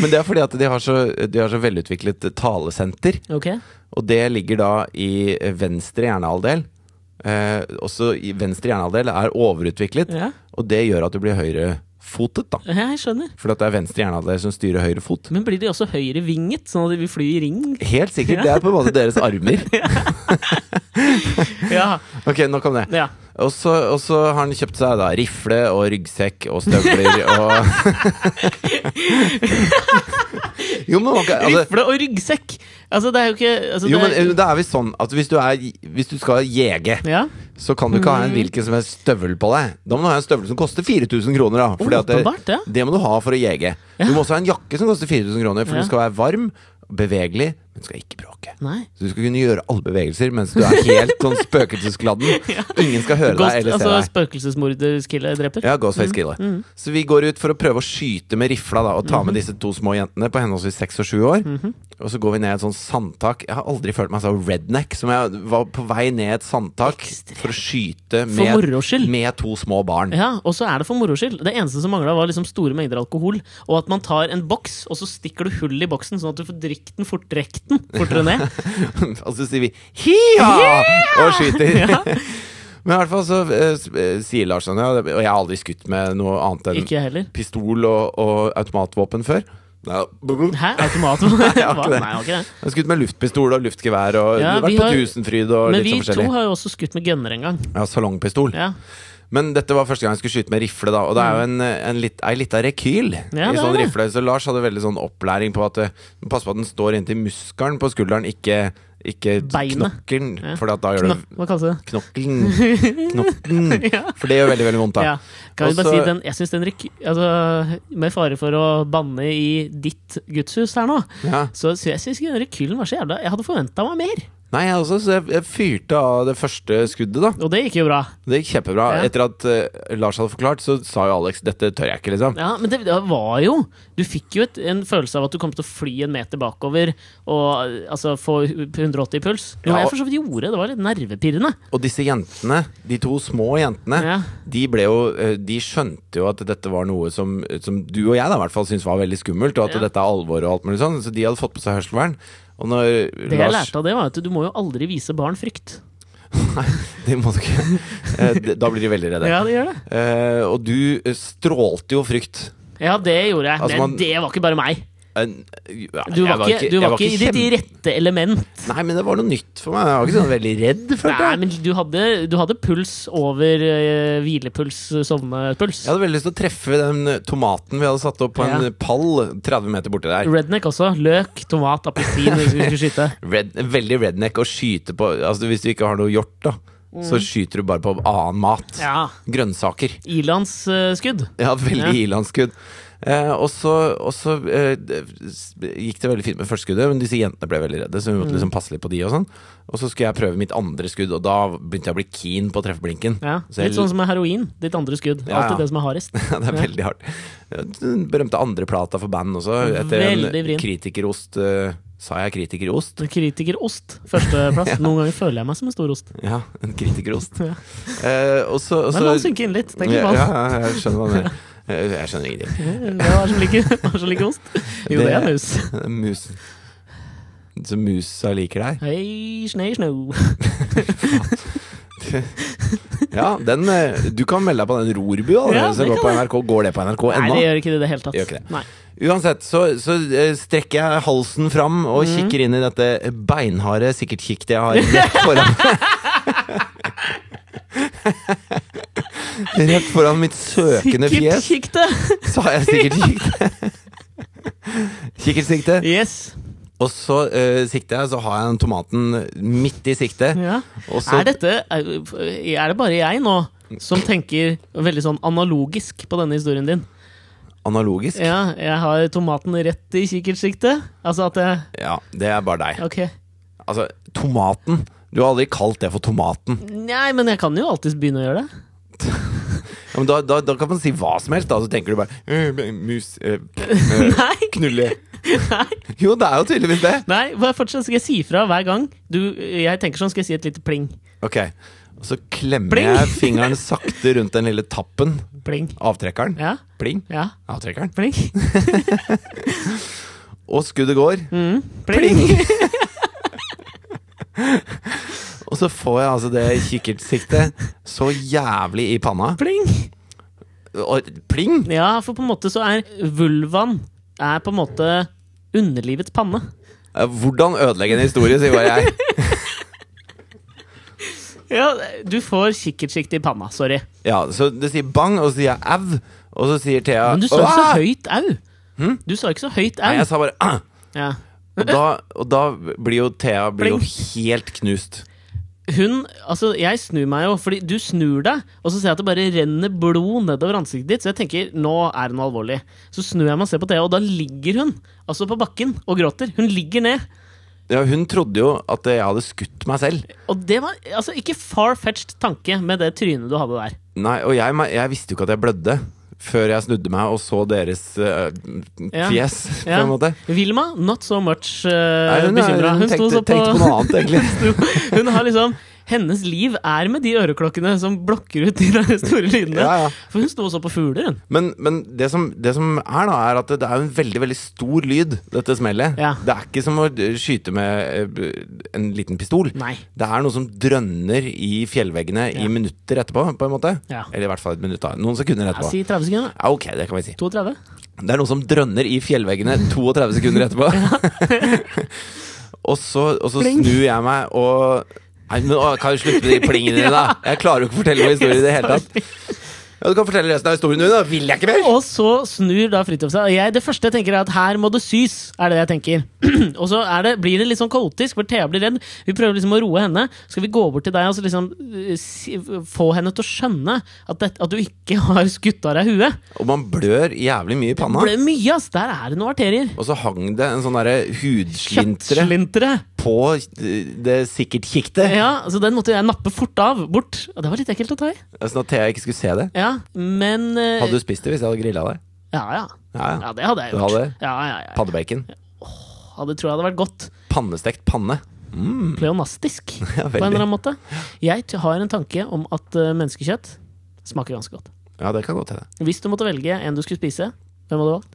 Speaker 1: Men det er fordi at de har så, de har så velutviklet talesenter.
Speaker 2: Ok,
Speaker 1: Og det ligger da i venstre hjernehalvdel. Eh, også i venstre hjernehalvdel er overutviklet,
Speaker 2: ja.
Speaker 1: og det gjør at du blir høyrefotet, da.
Speaker 2: ja jeg skjønner.
Speaker 1: For at det er venstre hjernehalvdel som styrer høyre fot.
Speaker 2: Men blir de også høyrevinget, sånn at de vil fly i ring?
Speaker 1: Helt sikkert. Det er på en måte deres armer.
Speaker 2: Ja,
Speaker 1: Ok, nok om det.
Speaker 2: ja.
Speaker 1: Og så og så har han kjøpt seg da rifle og ryggsekk og støvler og Jo, men man kan altså,
Speaker 2: Rifle og ryggsekk! Altså, det er jo ikke altså,
Speaker 1: Jo, men
Speaker 2: det
Speaker 1: eh,
Speaker 2: er,
Speaker 1: da er vi sånn at hvis du, er, hvis du skal jege,
Speaker 2: ja.
Speaker 1: så kan du ikke ha en
Speaker 2: Mm.
Speaker 1: hvilken som helst støvel på deg. Da må du ha en støvel som koster 4000 kroner, da. Fordi at det,
Speaker 2: Åpenbart, ja.
Speaker 1: det må du ha for å jege. Du må også ha en jakke som koster 4000 kroner, for
Speaker 2: Ja.
Speaker 1: du skal være varm, bevegelig, men du skal ikke bråke.
Speaker 2: Nei.
Speaker 1: Så du skal kunne gjøre alle bevegelser mens du er helt sånn spøkelsesgladden. Ingen skal høre
Speaker 2: Ghost,
Speaker 1: deg eller se
Speaker 2: altså
Speaker 1: deg.
Speaker 2: spøkelsesmorderskille dreper.
Speaker 1: Ja,
Speaker 2: Mm.
Speaker 1: Ghostface Killer. Så vi går ut for å prøve å skyte med rifla da, og ta
Speaker 2: Mhm.
Speaker 1: med disse to små jentene på henholdsvis seks og sju år. Og så går vi ned et sånt sandtak. Jeg har aldri følt meg så redneck som jeg var på vei ned et sandtak
Speaker 2: Ekstremt.
Speaker 1: for å skyte
Speaker 2: For moro skyld.
Speaker 1: med, med to små barn.
Speaker 2: Ja, Og så er det for moro skyld. Det eneste som mangla, var liksom store mengder alkohol. Og at man tar en boks, og så stikker du hull i boksen, sånn at du får drikke den fort, drekk den fortere ned.
Speaker 1: og så sier vi hia! Og skyter. Men i hvert fall så eh, s- eh, sier Lars sånn, ja, det- og jeg har aldri skutt med noe annet enn
Speaker 2: Ikke jeg heller.
Speaker 1: pistol og, og automatvåpen før. Nei, bu- bu-
Speaker 2: Hæ? Automat? Nei,
Speaker 1: jeg har ikke det.
Speaker 2: Nei, jeg har ikke det.
Speaker 1: Jeg har skutt med luftpistol og luftgevær og
Speaker 2: Ja,
Speaker 1: du har vært
Speaker 2: vi
Speaker 1: på
Speaker 2: har-
Speaker 1: Tusenfryd og
Speaker 2: Men
Speaker 1: litt
Speaker 2: vi
Speaker 1: sånn
Speaker 2: to
Speaker 1: forskjellig.
Speaker 2: har jo også skutt med gunner en gang.
Speaker 1: Ja, salongpistol.
Speaker 2: Ja. Mm.
Speaker 1: Men dette var første gang jeg skulle skyte med rifle, da. Og det er jo en, en litt, ei lita rekyl
Speaker 2: Ja,
Speaker 1: i
Speaker 2: det er
Speaker 1: sånn
Speaker 2: det.
Speaker 1: rifle. Så Lars hadde veldig sånn opplæring på at eh, Pass på at den står inntil muskelen på skulderen, ikke, ikke
Speaker 2: Beinet.
Speaker 1: knokkelen.
Speaker 2: Ja.
Speaker 1: For da gjør
Speaker 2: Kno
Speaker 1: det
Speaker 2: hva kalles det?
Speaker 1: Knokkelen. Knokkelen.
Speaker 2: Ja.
Speaker 1: For det gjør veldig, veldig vondt, da.
Speaker 2: Ja. Kan vi bare
Speaker 1: Også-
Speaker 2: si den, jeg synes den ryk, altså, Med fare for å banne i ditt gudshus her nå,
Speaker 1: Ja.
Speaker 2: så sy- jeg syns ikke den rekylen var så jævla Jeg hadde forventa meg mer,
Speaker 1: Nei, jeg også, så jeg, jeg fyrte av det første skuddet, da.
Speaker 2: og det gikk jo bra.
Speaker 1: Det gikk kjempebra.
Speaker 2: Ja.
Speaker 1: Etter at eh, Lars hadde forklart, så sa jo Alex 'dette tør jeg ikke', liksom.
Speaker 2: Ja, Men det, det var jo Du fikk jo et, en følelse av at du kom til å fly en meter bakover og altså, få 180 i puls. Noe
Speaker 1: Ja, og-
Speaker 2: jeg for så vidt gjorde. Det var litt nervepirrende.
Speaker 1: Og disse jentene, de to små jentene,
Speaker 2: Ja.
Speaker 1: de ble jo eh, De skjønte jo at dette var noe som, som du og jeg da i hvert fall syntes var veldig skummelt, og at
Speaker 2: Ja.
Speaker 1: dette er alvor og alt mulig sånn, så de hadde fått på seg hørselvern. Og når
Speaker 2: Det jeg
Speaker 1: Lars
Speaker 2: lærte av det, var at du må jo aldri vise barn frykt.
Speaker 1: Nei, det må du ikke. Eh, det- Da blir de veldig redde.
Speaker 2: Ja, det gjør det.
Speaker 1: Eh, og du eh, strålte jo frykt.
Speaker 2: Ja, det gjorde jeg.
Speaker 1: Altså,
Speaker 2: men
Speaker 1: man-
Speaker 2: det var ikke bare meg.
Speaker 1: Eh,
Speaker 2: Du
Speaker 1: jeg
Speaker 2: var, ikke, du
Speaker 1: jeg
Speaker 2: var ikke i ditt
Speaker 1: kjempe-
Speaker 2: rette element.
Speaker 1: Nei, men det var noe nytt for meg. Jeg var ikke sånn veldig redd, følte
Speaker 2: Nei,
Speaker 1: jeg.
Speaker 2: men du hadde, du hadde puls over eh, hvilepuls, sovnepuls.
Speaker 1: Jeg hadde veldig lyst til å treffe den eh, tomaten vi hadde satt opp på en
Speaker 2: Ja.
Speaker 1: pall 30 meter borti der.
Speaker 2: Redneck også. Løk, tomat, appelsin hvis du skulle skyte.
Speaker 1: Red, veldig redneck å skyte på altså Hvis du ikke har noe hjort, da, så skyter du bare på annen mat.
Speaker 2: Mm. Ja.
Speaker 1: Grønnsaker.
Speaker 2: Ilandsskudd.
Speaker 1: Ja, veldig
Speaker 2: Ja.
Speaker 1: ilandsskudd. Eh, og så, og så eh, det- s- gikk det veldig fint med første skuddet, men disse jentene ble veldig redde. Så vi måtte
Speaker 2: Mm.
Speaker 1: liksom passe litt på de Og sånn Og så skulle jeg prøve mitt andre skudd, og da begynte jeg å bli keen på å treffe blinken.
Speaker 2: Ja.
Speaker 1: Så jeg-
Speaker 2: Litt sånn som med heroin. Ditt andre skudd.
Speaker 1: Ja, ja.
Speaker 2: Alltid det som er hardest.
Speaker 1: Ja, det er veldig hardt. Ja, Den berømte andreplata for band også, etter
Speaker 2: Veldig
Speaker 1: en
Speaker 2: vrient.
Speaker 1: kritikerost. eh, sa jeg kritikerost?
Speaker 2: Kritikerost. Førsteplass. Noen ganger føler jeg meg som en stor ost.
Speaker 1: Ja, en kritikerost.
Speaker 2: Ja.
Speaker 1: Eh, og så, og
Speaker 2: Men
Speaker 1: så
Speaker 2: la den synke inn litt. Tenk litt
Speaker 1: ja,
Speaker 2: på
Speaker 1: ja,
Speaker 2: den.
Speaker 1: ja, jeg skjønner hva du mener. Eh, Jeg skjønner ingenting.
Speaker 2: Hva er det som liker hva er det som liker ost? Jo, det er mus.
Speaker 1: Mus. Så musa liker deg?
Speaker 2: Hei, snei, snau.
Speaker 1: Ja, den eh, Du kan melde deg på den Rorbu allerede,
Speaker 2: Ja,
Speaker 1: som
Speaker 2: det
Speaker 1: går på
Speaker 2: kan
Speaker 1: NRK. Går det på NRK
Speaker 2: Nei,
Speaker 1: ennå?
Speaker 2: det gjør ikke det i det hele tatt.
Speaker 1: Gjør ikke det.
Speaker 2: Nei.
Speaker 1: Uansett, så, så eh, strekker jeg halsen fram og
Speaker 2: Mhm.
Speaker 1: kikker inn i dette beinharde sikkert kikket jeg har rett foran Rett foran mitt søkende
Speaker 2: Sikkert
Speaker 1: fjes.
Speaker 2: kikk det!
Speaker 1: Så har jeg sikkert kikket Kikkertsikte.
Speaker 2: Yes.
Speaker 1: Og så uh, sikter jeg, så har jeg den tomaten midt i siktet.
Speaker 2: Ja.
Speaker 1: Og så,
Speaker 2: er, dette, er det bare jeg nå som tenker veldig sånn analogisk på denne historien din?
Speaker 1: analogisk. Ja.
Speaker 2: Ja, jeg har tomaten rett i kikkertsiktet. Altså at jeg
Speaker 1: det er bare deg.
Speaker 2: Ok.
Speaker 1: Altså, tomaten. Du har aldri kalt det for tomaten.
Speaker 2: Nei, men jeg kan jo alltids begynne å gjøre det.
Speaker 1: Ja, men da, da, da kan man si hva som helst, da. Så tenker du bare «Øh, Mus øh, øh,
Speaker 2: Nei!
Speaker 1: Knulle.
Speaker 2: Nei.
Speaker 1: Jo, det er jo tydeligvis det.
Speaker 2: Nei, bare fortsett. Skal jeg si fra hver gang du, jeg tenker sånn, skal jeg si et lite pling.
Speaker 1: Ok. Og så klemmer
Speaker 2: Pling.
Speaker 1: jeg fingeren sakte rundt den lille tappen.
Speaker 2: Pling.
Speaker 1: Avtrekkeren.
Speaker 2: Ja.
Speaker 1: Pling.
Speaker 2: Ja.
Speaker 1: Avtrekkeren.
Speaker 2: Pling.
Speaker 1: Og skuddet går.
Speaker 2: Mm. Pling.
Speaker 1: Og så får jeg altså det kikkertsiktet så jævlig i panna.
Speaker 2: Pling.
Speaker 1: Og pling!
Speaker 2: Ja, for på en måte så er vulvaen er på en måte underlivets panne.
Speaker 1: Eh, Hvordan ødelegge en historie, sier bare jeg.
Speaker 2: Ja, du får kikkertsikte i panna. Sorry.
Speaker 1: Ja, så det sier bang, og så sier jeg au, og så sier Thea
Speaker 2: Men du sa ikke så
Speaker 1: «Åh!» Hm?
Speaker 2: høyt au. Du sa ikke så høyt
Speaker 1: Nei,
Speaker 2: au.
Speaker 1: jeg sa bare «Ah!»
Speaker 2: Ja.
Speaker 1: Og da, og da blir jo Thea blir jo helt knust.
Speaker 2: Hun, altså Jeg snur meg jo, fordi du snur deg, og så ser jeg at det bare renner blod nedover ansiktet ditt. Så jeg tenker nå er hun alvorlig. Så snur jeg meg og ser på Thea, og da ligger hun altså på bakken og gråter. Hun ligger ned.
Speaker 1: Ja, hun trodde jo at jeg hadde skutt meg selv.
Speaker 2: Og det var altså ikke far-fetched tanke med det trynet du hadde der.
Speaker 1: Nei, og jeg, me- jeg visste jo ikke at jeg blødde før jeg snudde meg og så deres eh,
Speaker 2: Ja.
Speaker 1: fjes, på en måte.
Speaker 2: Vilma, not so much uh,
Speaker 1: Nei, hun,
Speaker 2: bekymra.
Speaker 1: hun,
Speaker 2: Hun, sto
Speaker 1: tenkte,
Speaker 2: så på,
Speaker 1: tenkte på noe annet, egentlig.
Speaker 2: Hun har liksom Hennes liv er med de øreklokkene som blokker ut de der store lydene.
Speaker 1: Ja, ja.
Speaker 2: For hun sto og så på fugler, hun.
Speaker 1: Men, men det, som, det som er, da, er at det, det er jo en veldig veldig stor lyd, dette smellet.
Speaker 2: Ja.
Speaker 1: Det er ikke som å eh, skyte med eh, en liten pistol.
Speaker 2: Nei.
Speaker 1: Det er noe som drønner i fjellveggene
Speaker 2: Ja.
Speaker 1: i minutter etterpå, på en måte.
Speaker 2: Ja.
Speaker 1: Eller i hvert fall et minutt, da. Noen sekunder
Speaker 2: Ja,
Speaker 1: etterpå.
Speaker 2: si 30 sekunder. da.
Speaker 1: Ja, ok, det kan vi si.
Speaker 2: 32.
Speaker 1: Det er noe som drønner i fjellveggene 32 sekunder etterpå. og så, og så
Speaker 2: Pling.
Speaker 1: snur jeg meg og Nei, men å, Kan du slutte med de plingene dine, da? Jeg klarer jo ikke å fortelle noen historie i det hele tatt. Ja, du kan fortelle resten av historien din, da. Vil jeg ikke mer!
Speaker 2: Og så snur da Fridtjof seg. Og jeg, det første jeg tenker, er at her må det sys. er det jeg tenker. og så er det, blir det litt sånn kaotisk, for Thea blir redd. Vi prøver liksom å roe henne. Skal vi gå bort til deg og så liksom eh, si, få henne til å skjønne at, dette- at du ikke har skutt av deg huet?
Speaker 1: Og man blør jævlig mye i panna.
Speaker 2: For det er mye, ass! Der er det noen arterier.
Speaker 1: Og så hang det en sånn derre hudslintre
Speaker 2: Kjøttslintre.
Speaker 1: på det sikkertkiktet,
Speaker 2: Ja, så den måtte jeg nappe fort av. Bort. Og det var litt ekkelt å ta i.
Speaker 1: sånn at Thea ikke skulle se det.
Speaker 2: Ja, men eh,
Speaker 1: Hadde du spist det hvis jeg hadde grilla det?
Speaker 2: Ja, ja.
Speaker 1: Ja, ja.
Speaker 2: Ja, det hadde jeg
Speaker 1: Du
Speaker 2: gjort.
Speaker 1: hadde?
Speaker 2: Ja, ja, ja.
Speaker 1: Paddebacon.
Speaker 2: Ja, det tror jeg hadde vært godt.
Speaker 1: Pannestekt panne.
Speaker 2: Pleonastisk,
Speaker 1: Ja,
Speaker 2: på en eller
Speaker 1: veldig.
Speaker 2: annen måte. Jeg t- har en tanke om at eh, menneskekjøtt smaker ganske godt.
Speaker 1: Ja, det kan godt hende.
Speaker 2: Hvis du måtte velge en du skulle spise, hvem hadde du valgt?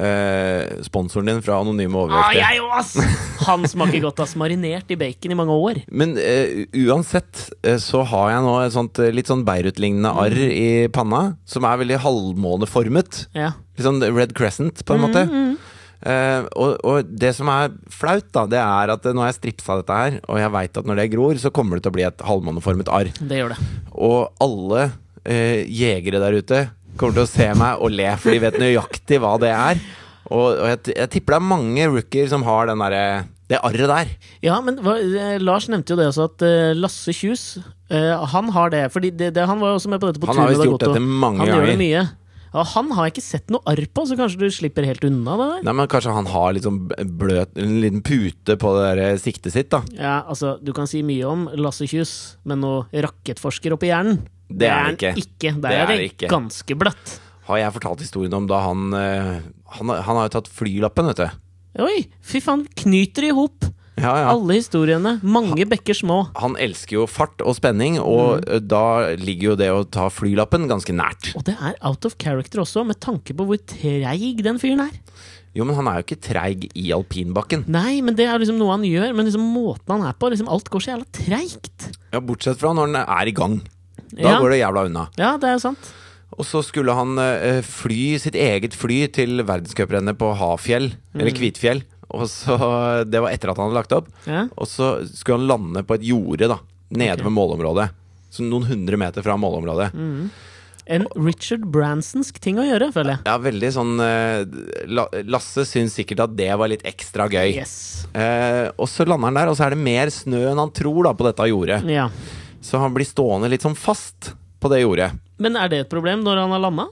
Speaker 1: Eh, sponsoren din fra Anonyme
Speaker 2: Ah,
Speaker 1: overvektige.
Speaker 2: jeg òg, ass! Han smaker godt, ass. Marinert i bacon i mange år.
Speaker 1: Men eh, uansett eh, så har jeg nå et sånt eh, litt sånn Beirut-lignende arr i
Speaker 2: Mm.
Speaker 1: panna, som er veldig halvmåneformet.
Speaker 2: Ja.
Speaker 1: Litt sånn Red Crescent, på en måte. Eh, og, og det som er flaut, da, det er at eh, nå har jeg stripsa dette her, og jeg veit at når det gror, så kommer det til å bli et halvmåneformet arr.
Speaker 2: Det gjør det.
Speaker 1: Og alle eh, jegere der ute kommer til å se meg og le, for de vet nøyaktig hva det er. Og, og jeg, t- jeg tipper det er mange rookier som har den derre det arret der.
Speaker 2: Ja, men hva, eh, Lars nevnte jo det også, at eh, Lasse Kjus eh, Han har det. fordi det, det, Han var jo også med på dette på
Speaker 1: Han har
Speaker 2: Tour
Speaker 1: visst
Speaker 2: med
Speaker 1: gjort
Speaker 2: Dagotto.
Speaker 1: dette mange
Speaker 2: Han gjør det
Speaker 1: ganger.
Speaker 2: mye. Ja, han har jeg ikke sett noe arr på, så kanskje du slipper helt unna det der?
Speaker 1: Nei, men Kanskje han har litt sånn bløt, en liten pute på det der siktet sitt. da
Speaker 2: Ja, altså, Du kan si mye om Lasse Kjus, men noe rakettforsker oppi hjernen
Speaker 1: Det er han
Speaker 2: han
Speaker 1: ikke.
Speaker 2: ikke. Der
Speaker 1: Det er
Speaker 2: er det
Speaker 1: han ikke.
Speaker 2: ganske bløtt.
Speaker 1: Har jeg fortalt historien om da han eh, Han, han har jo tatt flylappen, vet du.
Speaker 2: Oi, fy faen, knyter i hop
Speaker 1: Ja, ja.
Speaker 2: alle historiene. Mange bekker små.
Speaker 1: Han elsker jo fart og spenning, og
Speaker 2: Mm.
Speaker 1: eh, da ligger jo det å ta flylappen ganske nært.
Speaker 2: Og det er out of character også, med tanke på hvor treig den fyren er.
Speaker 1: Jo, men han er jo ikke treig i alpinbakken.
Speaker 2: Nei, men det er liksom noe han gjør, men liksom måten han er på liksom Alt går så jævla treigt.
Speaker 1: Ja, Bortsett fra når han er i gang. Da
Speaker 2: Ja.
Speaker 1: går det jævla unna.
Speaker 2: Ja, det er jo sant.
Speaker 1: Og så skulle han eh, fly sitt eget fly til verdenscuprennet på Hafjell,
Speaker 2: Mm.
Speaker 1: eller Kvitfjell. Og så, Det var etter at han hadde lagt opp.
Speaker 2: Ja.
Speaker 1: Og så skulle han lande på et jorde, da. Nede
Speaker 2: Ok. Mm.
Speaker 1: ved målområdet. Så noen hundre meter fra målområdet.
Speaker 2: En Richard Bransonsk ting å gjøre, føler jeg.
Speaker 1: Ja, veldig sånn eh, La Lasse syns sikkert at det var litt ekstra gøy.
Speaker 2: Yes.
Speaker 1: Eh, og så lander han der, og så er det mer snø enn han tror da på dette jordet.
Speaker 2: Ja.
Speaker 1: Så han blir stående litt sånn fast på det jordet.
Speaker 2: Men er det et problem når han har landa?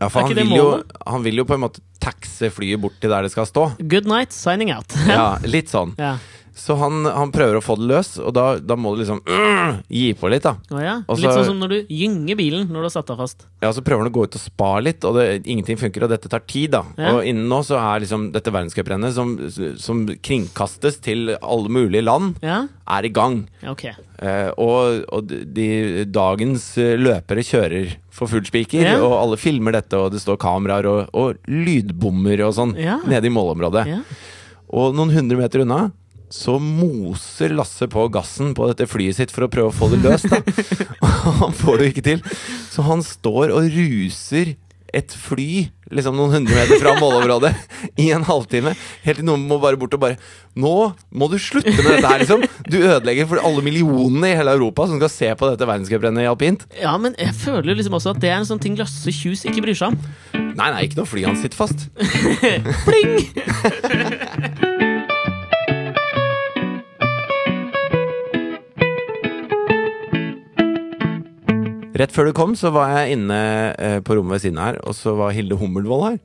Speaker 1: Ja, for
Speaker 2: Er
Speaker 1: han
Speaker 2: ikke det
Speaker 1: vil, jo,
Speaker 2: målet?
Speaker 1: han vil jo på en måte taxe flyet bort til der det skal stå.
Speaker 2: Good night, signing out.
Speaker 1: Ja, litt sånn.
Speaker 2: ja.
Speaker 1: Så han, han prøver å få det løs, og da, da må du liksom øh, gi på litt, da.
Speaker 2: Å ja.
Speaker 1: Og
Speaker 2: Litt
Speaker 1: så-
Speaker 2: sånn som når du gynger bilen når du har satt deg fast.
Speaker 1: Ja, så prøver han å gå ut og spa litt, og det, ingenting funker, og dette tar tid, da.
Speaker 2: Ja.
Speaker 1: Og innen nå så er liksom dette verdenscuprennet, som, som kringkastes til alle mulige land,
Speaker 2: Ja,
Speaker 1: er i gang.
Speaker 2: Ja, ok.
Speaker 1: Eh, og og de, de- dagens eh, løpere kjører for full spiker,
Speaker 2: Ja.
Speaker 1: og alle filmer dette, og det står kameraer og, og lydbommer og sånn
Speaker 2: Ja.
Speaker 1: nede i målområdet.
Speaker 2: Ja.
Speaker 1: Og noen hundre meter unna så moser Lasse på gassen på dette flyet sitt for å prøve å få det løst. da. Og han får det jo ikke til. Så han står og ruser et fly liksom noen hundre meter fra målområdet i en halvtime. Helt til noen må bare bort og bare Nå må du slutte med dette her, liksom! Du ødelegger for alle millionene i hele Europa som skal se på dette verdenscuprennet i alpint.
Speaker 2: ja, men jeg føler liksom også at det er en sånn ting Lasse Kjus ikke bryr seg om.
Speaker 1: Nei, nei, ikke når flyet hans sitter fast.
Speaker 2: Pling!
Speaker 1: Rett før du kom, så var jeg inne eh, på rommet ved siden av her, og så var Hilde Hummelvold her.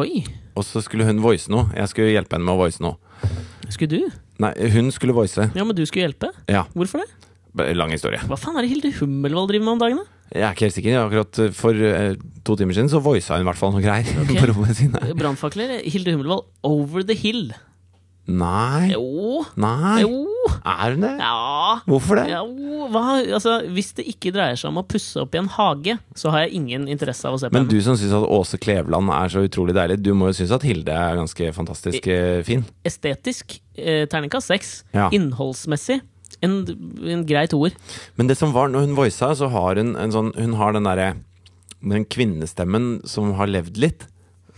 Speaker 2: Oi.
Speaker 1: Og så skulle hun voice noe. Jeg skulle hjelpe henne med å voice noe.
Speaker 2: Skulle du?
Speaker 1: Nei, hun skulle voice.
Speaker 2: Ja, men du skulle hjelpe.
Speaker 1: Ja.
Speaker 2: Hvorfor det?
Speaker 1: b- Lang historie.
Speaker 2: Hva faen er det Hilde Hummelvold driver med om dagene?
Speaker 1: Jeg er ikke helt sikker. Akkurat eh, for eh, to timer siden så voisa hun i hvert fall noe greier
Speaker 2: Ok.
Speaker 1: på rommet ved siden av.
Speaker 2: Eh, Brannfakler? Hilde Hummelvold over the hill.
Speaker 1: Nei.
Speaker 2: Jo.
Speaker 1: Nei.
Speaker 2: Jo.
Speaker 1: Er hun det?
Speaker 2: Ja.
Speaker 1: Hvorfor det?
Speaker 2: Ja, hva, altså, hvis det ikke dreier seg om å pusse opp i en hage, så har jeg ingen interesse av å se på
Speaker 1: Men
Speaker 2: henne.
Speaker 1: du som syns at Åse Kleveland er så utrolig deilig, du må jo synes at Hilde er ganske fantastisk eh, fin.
Speaker 2: Estetisk, eh, terningkast seks.
Speaker 1: Ja.
Speaker 2: Innholdsmessig, en, en grei toer.
Speaker 1: Men det som var når hun voisa, så har hun en sånn Hun har den derre Den kvinnestemmen som har levd litt,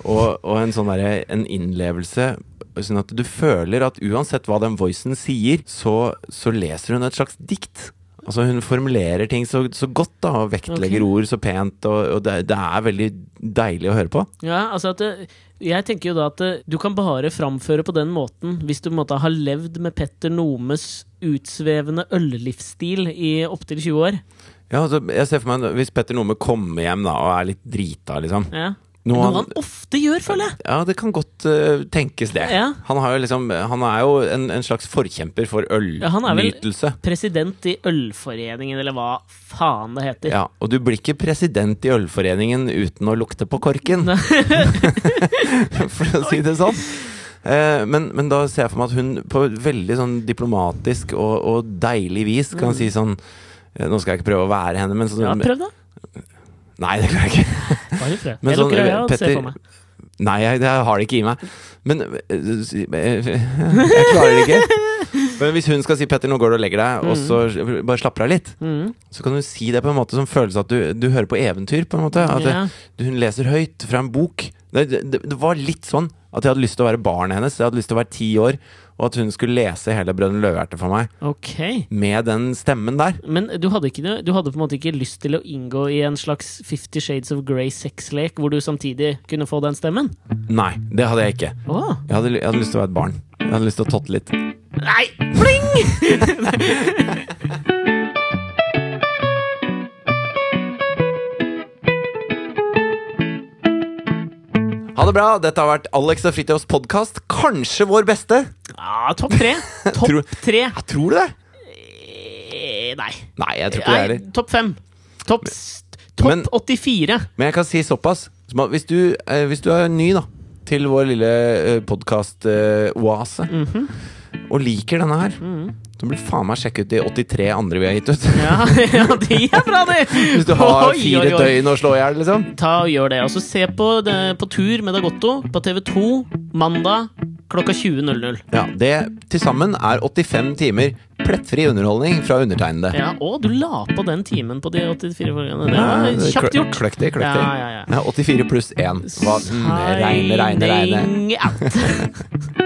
Speaker 1: og, og en sånn derre En innlevelse. Sånn at du føler at uansett hva den voicen sier, så, så leser hun et slags dikt. Altså Hun formulerer ting så, så godt da, og vektlegger ord så pent. Og, og det, det er veldig deilig å høre på.
Speaker 2: Ja, altså at eh, Jeg tenker jo da at eh, du kan bare framføre på den måten hvis du på en måte har levd med Petter Nomes utsvevende øllivsstil i opptil 20 år.
Speaker 1: Ja, altså, jeg ser for meg Hvis Petter Nome kommer hjem da og er litt drita, liksom
Speaker 2: Ja.
Speaker 1: Noe
Speaker 2: Noe
Speaker 1: han-
Speaker 2: han ofte gjør, føler jeg!
Speaker 1: Ja, det kan godt eh, tenkes det.
Speaker 2: Ja.
Speaker 1: Han, har jo liksom, han er jo en, en slags forkjemper for
Speaker 2: Ja, han er vel-
Speaker 1: ølnytelse.
Speaker 2: President i Ølforeningen, eller hva faen det heter.
Speaker 1: Ja, og du blir ikke president i Ølforeningen uten å lukte på korken, for å si det sånn. Eh, Men, men da ser jeg for meg at hun på veldig sånn diplomatisk og, og deilig vis kan si sånn eh, Nå skal jeg ikke prøve å være henne, men sånn
Speaker 2: Mm. Ja, prøv, da.
Speaker 1: Nei, det kan jeg ikke.
Speaker 2: Bare prøv.
Speaker 1: Men
Speaker 2: Jeg
Speaker 1: sånn,
Speaker 2: lukker øya og
Speaker 1: Petter-
Speaker 2: ser for meg.
Speaker 1: Nei, jeg, det har det ikke i meg. Men øh, si- øh, Jeg klarer det ikke. Men hvis hun skal si 'Petter, nå går du og legger deg', og så bare slapper av litt,
Speaker 2: Mm.
Speaker 1: så kan hun si det på en måte som føles at du, du hører på eventyr. på en måte At
Speaker 2: Ja.
Speaker 1: du- hun leser høyt fra en bok. Det, det, det var litt sånn at jeg hadde lyst til å være barnet hennes. Jeg hadde lyst til å være ti år, og at hun skulle lese hele 'Brødrene Løvehjerte' for meg
Speaker 2: Ok.
Speaker 1: med den stemmen der.
Speaker 2: Men du hadde, ikke, noe- du hadde på en måte ikke lyst til å inngå i en slags Fifty Shades of Grey sexlek, hvor du samtidig kunne få den stemmen?
Speaker 1: Nei, det hadde jeg ikke.
Speaker 2: Åh.
Speaker 1: Jeg hadde, jeg hadde lyst til å være et barn. Jeg hadde lyst til å totte litt.
Speaker 2: Nei! Pling!
Speaker 1: Ha det bra! Dette har vært Alex og Fritjofs podkast. Kanskje vår beste.
Speaker 2: Ah, topp tre.
Speaker 1: Tror-
Speaker 2: Topp tre.
Speaker 1: Ja, tror du det?
Speaker 2: Eh, Nei.
Speaker 1: Nei, jeg tror ikke det
Speaker 2: Nei
Speaker 1: heller.
Speaker 2: topp fem. Topp s- topp
Speaker 1: Men-
Speaker 2: 84.
Speaker 1: Men jeg kan si såpass. som at Hvis du, eh, hvis du er ny da til vår lille podkast-oase
Speaker 2: Mhm.
Speaker 1: og liker denne her, så blir du faen meg sjekke ut de 83 andre vi har gitt ut.
Speaker 2: Ja, ja, de er bra, de!
Speaker 1: Hvis du har
Speaker 2: Oi,
Speaker 1: fire
Speaker 2: oi, oi.
Speaker 1: døgn å slå i hjel, liksom.
Speaker 2: Ta og gjør det. Og så se på, det, på tur med Dagotto på TV2 mandag klokka 20.00.
Speaker 1: Ja, det til sammen er 85 timer plettfri underholdning fra undertegnede.
Speaker 2: Ja, og du la på den timen på de 84 forgangene. Det var kjapt gjort.
Speaker 1: Kløkk det, kløkk det.
Speaker 2: Ja, ja, ja.
Speaker 1: Ja, 84 pluss 1. Hva? Mm, regne, regne, regne.
Speaker 2: Signing out.